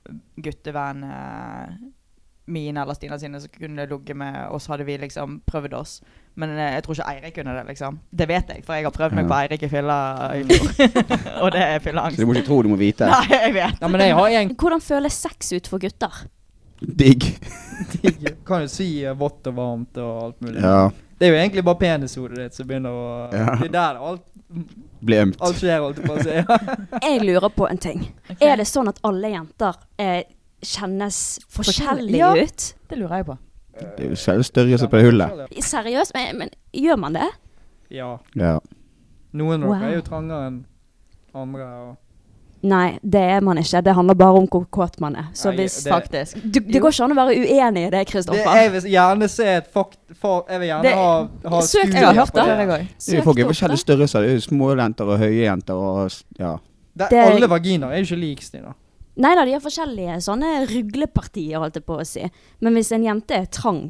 Speaker 5: guttevennene eh, mine eller Stina sine som kunne ligget med oss, hadde vi liksom prøvd oss. Men eh, jeg tror ikke Eirik kunne det, liksom. Det vet jeg, for jeg har prøvd meg
Speaker 6: Ja.
Speaker 5: på Eirik i fylla i fjor. Og det er
Speaker 6: Så du
Speaker 5: fylleangst.
Speaker 6: må ikke tro du må vite.
Speaker 5: Nei, jeg vet.
Speaker 9: Nei, men jeg har en
Speaker 4: Hvordan føles sex ut for gutter?
Speaker 6: Digg.
Speaker 9: Jeg kan jo si eh, vått og varmt og alt mulig.
Speaker 6: Ja.
Speaker 9: Det er jo egentlig bare penishodet ditt som begynner å
Speaker 6: Ja.
Speaker 9: Det er der alt,
Speaker 6: Bli ømt.
Speaker 9: alt skjer, holdt jeg på å si.
Speaker 4: Jeg lurer på en ting. Er det sånn at alle jenter eh, kjennes forskjellige
Speaker 5: Ja.
Speaker 4: ut?
Speaker 5: Det lurer jeg på.
Speaker 6: Det er jo selv størrelse på det hullet.
Speaker 4: Seriøst, men, men gjør man det?
Speaker 9: Ja.
Speaker 6: Ja.
Speaker 9: Noen av dere er
Speaker 4: Wow.
Speaker 9: jo trangere enn andre. Og,
Speaker 4: Nei, det er man ikke. Det handler bare om hvor kåt man er. Så
Speaker 9: Nei,
Speaker 4: hvis
Speaker 9: det-
Speaker 5: Faktisk.
Speaker 4: du, Det går ikke an å være uenig i det,
Speaker 9: det, jeg
Speaker 4: Kristoffer.
Speaker 9: vil gjerne se et fakt... For, jeg vil gjerne
Speaker 5: Det-
Speaker 9: ha, ha
Speaker 4: Søk
Speaker 9: studier
Speaker 5: Jeg har hørt
Speaker 9: på
Speaker 5: det.
Speaker 9: det.
Speaker 5: jeg også.
Speaker 6: Det er jo Folk er jo forskjellige størrelser. Det er jo små jenter og høye jenter og s- ja.
Speaker 8: Det,
Speaker 7: Det-
Speaker 8: alle vaginaer er jo ikke lik, Stina.
Speaker 7: Nei da, de har forskjellige sånne ruglepartier, holdt jeg på å si. Men hvis en jente er trang,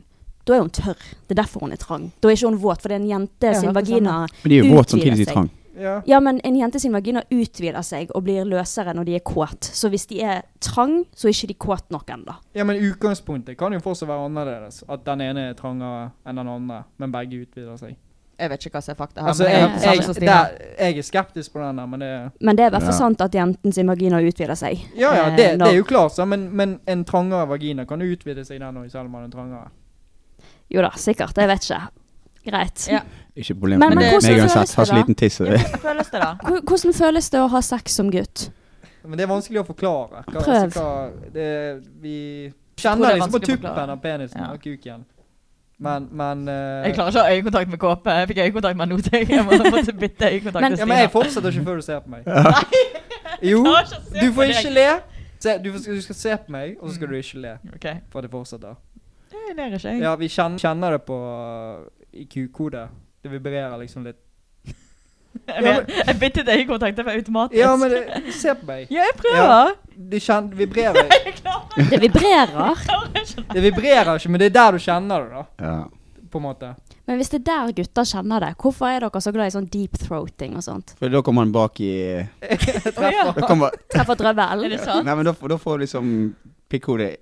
Speaker 7: da er hun tørr. Det er derfor hun er trang. Da er ikke hun våt, for det er en jente
Speaker 4: Jeg
Speaker 7: sin
Speaker 4: hørte det
Speaker 7: vagina
Speaker 4: samme. Men de er jo
Speaker 7: utvider
Speaker 4: våt samtidig som de er
Speaker 7: seg.
Speaker 4: trang.
Speaker 8: Ja.
Speaker 7: men en jente sin vagina utvider seg og blir løsere når de er kåt. Så hvis de er trang, så er ikke de kåt nok ennå.
Speaker 8: Ja, men utgangspunktet kan jo fortsatt være annerledes. At den ene er trangere enn den andre, men begge utvider seg.
Speaker 4: Jeg vet ikke hva som er fakta her.
Speaker 8: Altså,
Speaker 4: men
Speaker 8: jeg,
Speaker 4: er på samme
Speaker 8: jeg,
Speaker 4: som Stina.
Speaker 8: der, jeg er skeptisk på den der, men det
Speaker 7: Men det er i hvert fall
Speaker 8: Ja.
Speaker 7: sant at jenten sin vagina utvider seg.
Speaker 8: Ja, ja,
Speaker 7: Eh,
Speaker 8: det, det
Speaker 7: når-
Speaker 8: er jo klart, så, men, men en trangere vagina kan jo utvide seg den òg, selv om den er trangere.
Speaker 7: Jo da, sikkert. Jeg vet ikke. Greit.
Speaker 6: Ikke problem
Speaker 7: Men-
Speaker 6: for
Speaker 7: men
Speaker 6: meg
Speaker 7: hvordan
Speaker 6: meg
Speaker 7: føles
Speaker 6: uansett.
Speaker 7: det
Speaker 6: Har så
Speaker 7: da?
Speaker 6: liten tiss. så det-
Speaker 4: føles det, da?
Speaker 7: Hvordan føles det å ha sex som gutt?
Speaker 8: Men det er vanskelig å forklare. Hva,
Speaker 7: Prøv.
Speaker 8: Altså, hva, det, vi
Speaker 5: Jeg tror det
Speaker 8: kjenner
Speaker 5: er
Speaker 8: liksom på
Speaker 5: vanskelig å forklare.
Speaker 8: tuppen av penisen
Speaker 5: Ja.
Speaker 8: og kuken. Men, men eh,
Speaker 5: Jeg klarer ikke å ha øyekontakt med KP. Jeg fikk øyekontakt med Anote. Jeg må måtte bytte øyekontakt
Speaker 8: men,
Speaker 5: med
Speaker 8: ja,
Speaker 5: Stina.
Speaker 8: men jeg fortsetter ikke før du ser på meg.
Speaker 5: Ja.
Speaker 8: Jo,
Speaker 5: Jeg klarer ikke å se
Speaker 8: du
Speaker 5: på
Speaker 8: får
Speaker 5: deg.
Speaker 8: ikke le. Se, du, får- du skal se på meg, og så skal du ikke le.
Speaker 5: Mm, Ok.
Speaker 8: For det fortsetter.
Speaker 5: Jeg ler ikke, jeg.
Speaker 8: Ja, vi kjenner, kjenner det på uh, i kukhodet. Det vibrerer liksom litt.
Speaker 5: Jeg, vet- jeg byttet øyekontakt. Det var automatisk.
Speaker 8: Ja, men det- se på meg.
Speaker 5: Ja, jeg prøver.
Speaker 8: Ja, det kjen- vibrerer.
Speaker 7: Det vibrerer.
Speaker 8: Det vibrerer ikke, men det er der du kjenner det, da.
Speaker 6: Ja.
Speaker 8: På en måte.
Speaker 7: Men hvis det er der gutter kjenner det, hvorfor er dere så glad i sånn deep throating og sånt?
Speaker 6: For da kommer han bak i
Speaker 7: ja.
Speaker 6: Da kommer
Speaker 7: Treffer drøvel?
Speaker 6: Nei, men da, får- da får liksom pikkhodet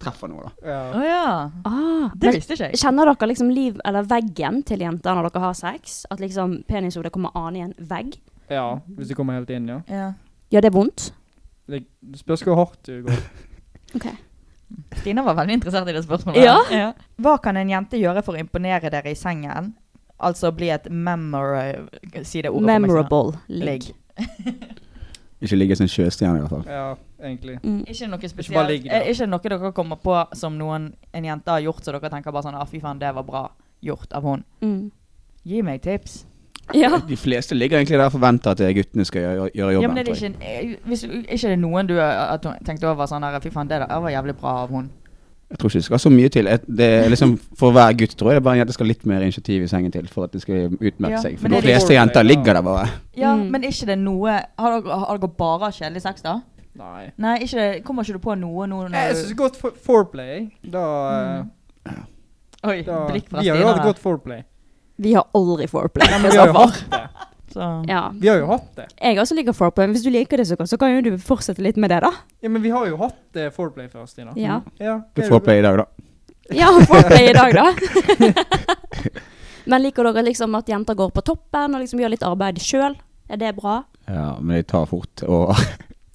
Speaker 6: treffer noe, da.
Speaker 8: Ja.
Speaker 5: Å ja.
Speaker 7: Ah,
Speaker 5: Det
Speaker 7: men
Speaker 5: visste ikke jeg.
Speaker 7: Kjenner dere liksom liv eller veggen til jenter når dere har sex? At liksom penishodet kommer an i en vegg?
Speaker 8: Ja, hvis du kommer helt inn, ja.
Speaker 7: Gjør det vondt?
Speaker 8: Det det spørs hvor hardt du går.
Speaker 5: Stina var veldig interessert i det spørsmålet.
Speaker 4: Ja.
Speaker 5: ja.
Speaker 4: Hva kan en jente gjøre for å imponere dere i sengen? Altså bli et memora... Si det ordet
Speaker 7: Memorable
Speaker 4: for meg. Stina.
Speaker 7: ligg.
Speaker 6: Ikke ligge som en sjøstjerne, i hvert fall.
Speaker 8: Ja, egentlig.
Speaker 4: Ikke noe
Speaker 8: Ikke bare ligg
Speaker 4: spesielt.
Speaker 8: der.
Speaker 4: Eh, Ikke noe dere kommer på som noen, en jente har gjort, så dere tenker bare sånn ah, 'fy faen, det var bra gjort av hun'. Gi meg tips.
Speaker 6: De fleste ligger egentlig der og forventer at eh, guttene skal gjøre, gjøre
Speaker 4: Ja,
Speaker 6: jobben.
Speaker 4: men er det
Speaker 6: tror jeg.
Speaker 4: ikke, eh, hvis, er ikke det noen du eh, at hun tenkte over sånn der 'fy faen, det der var jævlig bra av hun'?
Speaker 6: Jeg tror ikke det skal så mye til. Et- Det er liksom, for hver gutt tror jeg det er bare en jente skal litt mer initiativ i sengen til for at det skal utmette
Speaker 4: Ja,
Speaker 6: seg. For
Speaker 4: men
Speaker 6: de
Speaker 4: er det-
Speaker 6: fleste jenter ligger der bare.
Speaker 4: Ja, men er ikke det noe Har dere, har dere bare kjedelig sex, da?
Speaker 8: Nei.
Speaker 4: Nei, ikke det, kommer ikke du på noe nå når
Speaker 8: Jeg
Speaker 4: du- Mm.
Speaker 8: syns godt for foreplay. Da, eh,
Speaker 4: Oi,
Speaker 8: da
Speaker 4: blikk fra
Speaker 8: Vi har
Speaker 4: Stina
Speaker 8: jo hatt
Speaker 4: her.
Speaker 8: godt foreplay.
Speaker 7: Vi har aldri foreplay.
Speaker 8: Nei, men vi har jo hatt det.
Speaker 7: Ja.
Speaker 8: Vi har jo hatt det.
Speaker 7: Jeg også liker foreplay, men hvis du liker det så godt, så kan jo du fortsette litt med det, da.
Speaker 8: Ja, men vi har jo hatt eh, foreplay før, Stina.
Speaker 7: Ja.
Speaker 8: ja
Speaker 6: Det får play i dag, da.
Speaker 7: Ja, foreplay i dag, da. men liker dere liksom at jenter går på toppen og liksom gjør litt arbeid sjøl? Er det bra?
Speaker 6: Ja, men de tar fort og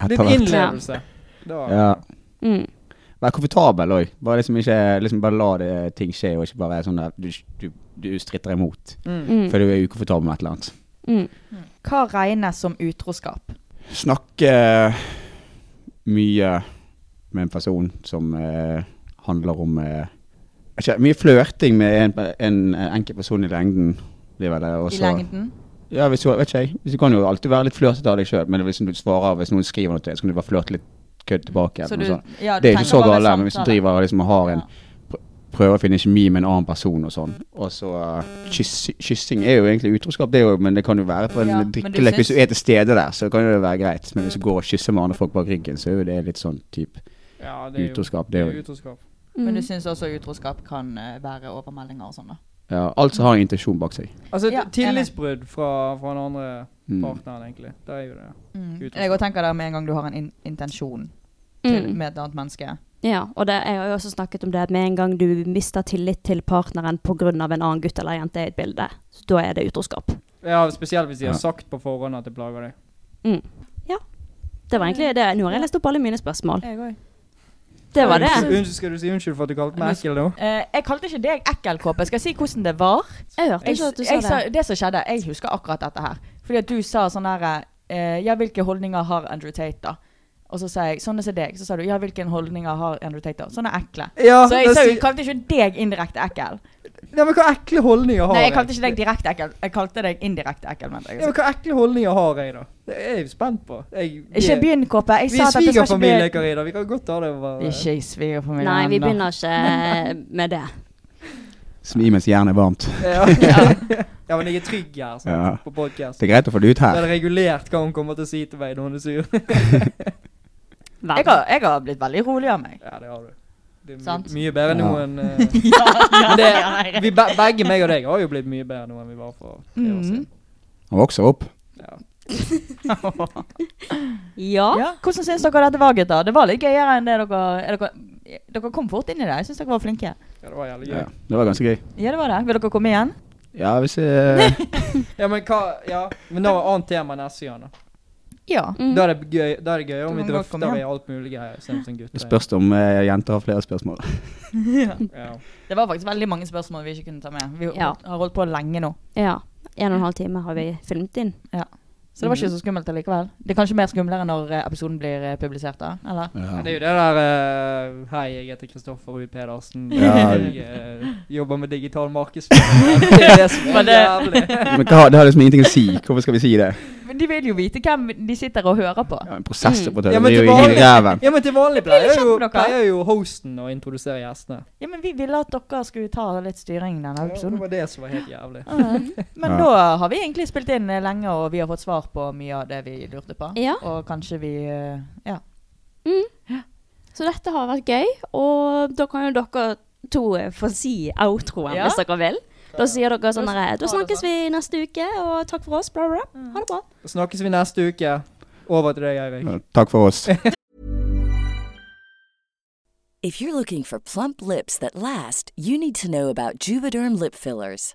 Speaker 6: etter
Speaker 8: Litt
Speaker 6: hvert.
Speaker 8: innlevelse. Da.
Speaker 6: Ja.
Speaker 7: Mm.
Speaker 6: Vær komfortabel òg. Bare liksom ikke liksom bare la det ting skje, og ikke bare sånn der du, du, du stritter imot.
Speaker 4: Mm. Mm.
Speaker 6: For du er ukomfortabel med et eller annet.
Speaker 4: Hva regnes som utroskap?
Speaker 6: Snakke mye med en person som eh, handler om eh, ikke, Mye flørting med en, en, enkelt person i lengden. Det er vel det også.
Speaker 4: I lengden?
Speaker 6: Ja, hvis du, vet ikke jeg. Hvis du kan jo alltid være litt flørtete av deg sjøl, men hvis, du svarer, hvis noen skriver noe til deg, så kan du bare flørte litt kødd tilbake.
Speaker 4: Så
Speaker 6: Eller noe
Speaker 4: du-
Speaker 6: sånt.
Speaker 4: ja, du
Speaker 6: sånn. det er ikke
Speaker 4: tenker
Speaker 6: så
Speaker 4: bare sånn
Speaker 6: gale, men hvis du
Speaker 4: samtale.
Speaker 6: driver og liksom har en pr- Prøver å finne kjemi med en annen person og sånn. Og så eh, kyss, Kyssing er jo egentlig utroskap, det er jo, men det kan jo være på en
Speaker 4: Ja, men du
Speaker 6: drikkelek. Hvis du
Speaker 4: syns-
Speaker 6: er til stede der, så kan jo det være greit. Men hvis du går og kysser med andre folk bak ryggen, så er jo det litt sånn type
Speaker 8: Ja, det er jo-
Speaker 6: utroskap. Det er jo
Speaker 8: utroskap.
Speaker 4: Men
Speaker 7: Mm.
Speaker 4: du syns også utroskap kan eh, være overmeldinger og sånn, da?
Speaker 6: ja, Alt som har en intensjon bak seg.
Speaker 8: Altså,
Speaker 4: Ja,
Speaker 8: et tillitsbrudd fra, fra den andre
Speaker 6: Mm.
Speaker 8: partneren, egentlig. Det er jo det.
Speaker 4: Mm.
Speaker 8: Utroskap.
Speaker 4: Jeg òg tenker det med en gang du har en in intensjon til,
Speaker 7: Mm.
Speaker 4: med et annet menneske.
Speaker 7: Ja, og det, jeg har jo også snakket om det at med en gang du mister tillit til partneren pga. en annen gutt eller jente i et bilde, så da er det utroskap.
Speaker 8: Ja, spesielt hvis de har
Speaker 6: Ja.
Speaker 8: sagt på forhånd at det plager deg.
Speaker 7: Mm. Ja. Det var egentlig det. Nå har jeg lest opp alle mine spørsmål.
Speaker 4: Jeg òg.
Speaker 7: Det var det.
Speaker 8: Unnskyld, skal du si unnskyld for at du kalte meg ekkel nå?
Speaker 4: jeg kalte ikke deg ekkel, Kåpe. Skal jeg si hvordan det var?
Speaker 7: Jeg hørte ikke at du sa
Speaker 4: jeg
Speaker 7: det.
Speaker 4: det som skjedde, jeg husker akkurat dette her. Fordi at du sa sånn her eh, Ja, hvilke holdninger har Andrew Tate, da? Og så sa jeg sånne som deg. Så sa du ja, hvilke holdninger har Andrew Tate, da? Sånne ekle.
Speaker 8: Ja,
Speaker 4: så jeg
Speaker 8: det
Speaker 4: sa, jo,
Speaker 8: sier-
Speaker 4: kalte ikke deg indirekte ekkel.
Speaker 8: Nei, men hva ekle holdninger har
Speaker 4: Nei, jeg kalte ikke deg direkte ekkel. Jeg kalte deg indirekte ekkel, mente
Speaker 8: Ja, men
Speaker 4: jeg.
Speaker 8: hva ekle holdninger har jeg, da? Det er jeg jo spent på. Jeg,
Speaker 4: Ikke begynn, Kåpe. Jeg
Speaker 8: Vi
Speaker 4: sa
Speaker 8: er
Speaker 4: at dette skal ikke bli
Speaker 8: svigerfamilie, Karina. Vi kan godt ta det over
Speaker 4: Ikke i svigerfamilien
Speaker 7: Nei, vi
Speaker 4: ennå.
Speaker 7: begynner ikke med det.
Speaker 6: Smi mens jernet er varmt.
Speaker 8: Ja.
Speaker 6: Ja, men jeg er trygg her,
Speaker 9: sånn,
Speaker 6: sant?
Speaker 8: Ja.
Speaker 6: på podcast.
Speaker 8: Det er greit å få det ut her.
Speaker 6: Da er det regulert hva hun kommer til å si til meg når hun er sur.
Speaker 5: Jeg har, jeg har blitt veldig rolig av meg.
Speaker 6: Ja, det har du. Det er my-
Speaker 5: Sant.
Speaker 6: mye bedre nå
Speaker 5: Ja.
Speaker 6: enn eh,
Speaker 5: Ja,
Speaker 6: men det,
Speaker 5: ja, ja, ja.
Speaker 6: vi, be- Begge meg og deg har jo blitt mye bedre nå enn vi var for tre år siden.
Speaker 8: Han vokser opp.
Speaker 4: ja.
Speaker 5: Hvordan syns dere dette var, gutter? Det var litt gøyere enn det dere er dere, dere kom fort inn i det. Jeg syns dere var flinke.
Speaker 6: Ja, det var jævlig gøy.
Speaker 8: Ja, det var ganske gøy.
Speaker 5: Ja, det var det. Vil dere komme igjen?
Speaker 8: Ja, hvis jeg
Speaker 6: Ja, men hva Ja, men da var annet tema neste gang, da.
Speaker 5: Ja.
Speaker 4: Mm.
Speaker 6: Da er det gøy, da er det gøy om
Speaker 5: Da må
Speaker 6: vi
Speaker 5: vi bare komme
Speaker 6: drøfter
Speaker 5: hjem.
Speaker 6: i alt mulig greier. Sånn som gutter.
Speaker 8: Spørs om eh, jenter har flere spørsmål.
Speaker 6: Ja.
Speaker 5: Det var faktisk veldig mange spørsmål vi ikke kunne ta med. Vi
Speaker 4: Ja.
Speaker 5: har holdt på lenge nå.
Speaker 4: ja. En og en halv time har vi filmet inn.
Speaker 5: Ja. Så det var ikke så skummelt allikevel. Det er kanskje mer skumlere når eh, episoden blir eh, publisert, da? Eller?
Speaker 6: Men Det er jo det der eh, Hei, jeg heter Kristoffer Ruud Pedersen.
Speaker 8: Ja.
Speaker 6: Jeg eh, jobber med digital markedsføring. Det er det som
Speaker 5: Men
Speaker 6: er
Speaker 5: det-
Speaker 6: jævlig.
Speaker 8: Men det har, det har liksom ingenting å si. Hvorfor skal vi si det?
Speaker 5: Men de vil jo vite hvem de sitter og hører på.
Speaker 8: En prosessoperatør
Speaker 6: Ja,
Speaker 8: det
Speaker 6: men
Speaker 8: er
Speaker 6: til
Speaker 8: jo ingen
Speaker 6: vanlig,
Speaker 8: i ræven.
Speaker 6: ja, men til vanlig
Speaker 5: blir
Speaker 6: pleier
Speaker 5: litt
Speaker 6: jo,
Speaker 5: kjent med dere.
Speaker 6: pleier jo hosten å introdusere gjestene.
Speaker 5: Ja, men vi ville at dere skulle ta litt styring i denne
Speaker 6: Ja, det
Speaker 5: episoden.
Speaker 6: var det som var helt jævlig.
Speaker 5: Men
Speaker 6: Ja.
Speaker 5: da har vi egentlig spilt inn eh, lenge, og vi har fått svar på mye av det vi lurte på.
Speaker 4: Ja.
Speaker 5: Og kanskje vi eh, Ja.
Speaker 4: Mm. Så dette har vært gøy, og da kan jo dere to eh, få si outroen
Speaker 5: Ja.
Speaker 4: hvis dere vil. Da sier dere sånn
Speaker 5: Da
Speaker 4: her
Speaker 5: tar
Speaker 4: Da snakkes vi neste uke, og takk for oss, bla, bla.
Speaker 5: Mm.
Speaker 4: bla. Ha det bra.
Speaker 6: Snakkes vi neste uke. Over til deg, Eirik.
Speaker 8: Ja, Takk for oss.
Speaker 3: If you're looking for plump lips that last, you need to know about Juvederm lip fillers.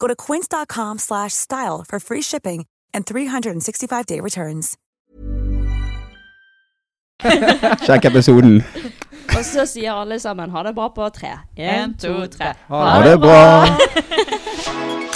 Speaker 7: Go to quince.com/style slash style for free shipping and 365-day returns.
Speaker 8: Sjekk episoden.
Speaker 4: Og så sier alle sammen ha det bra på tre. En, to, tre.
Speaker 8: Ha det bra.
Speaker 4: bra.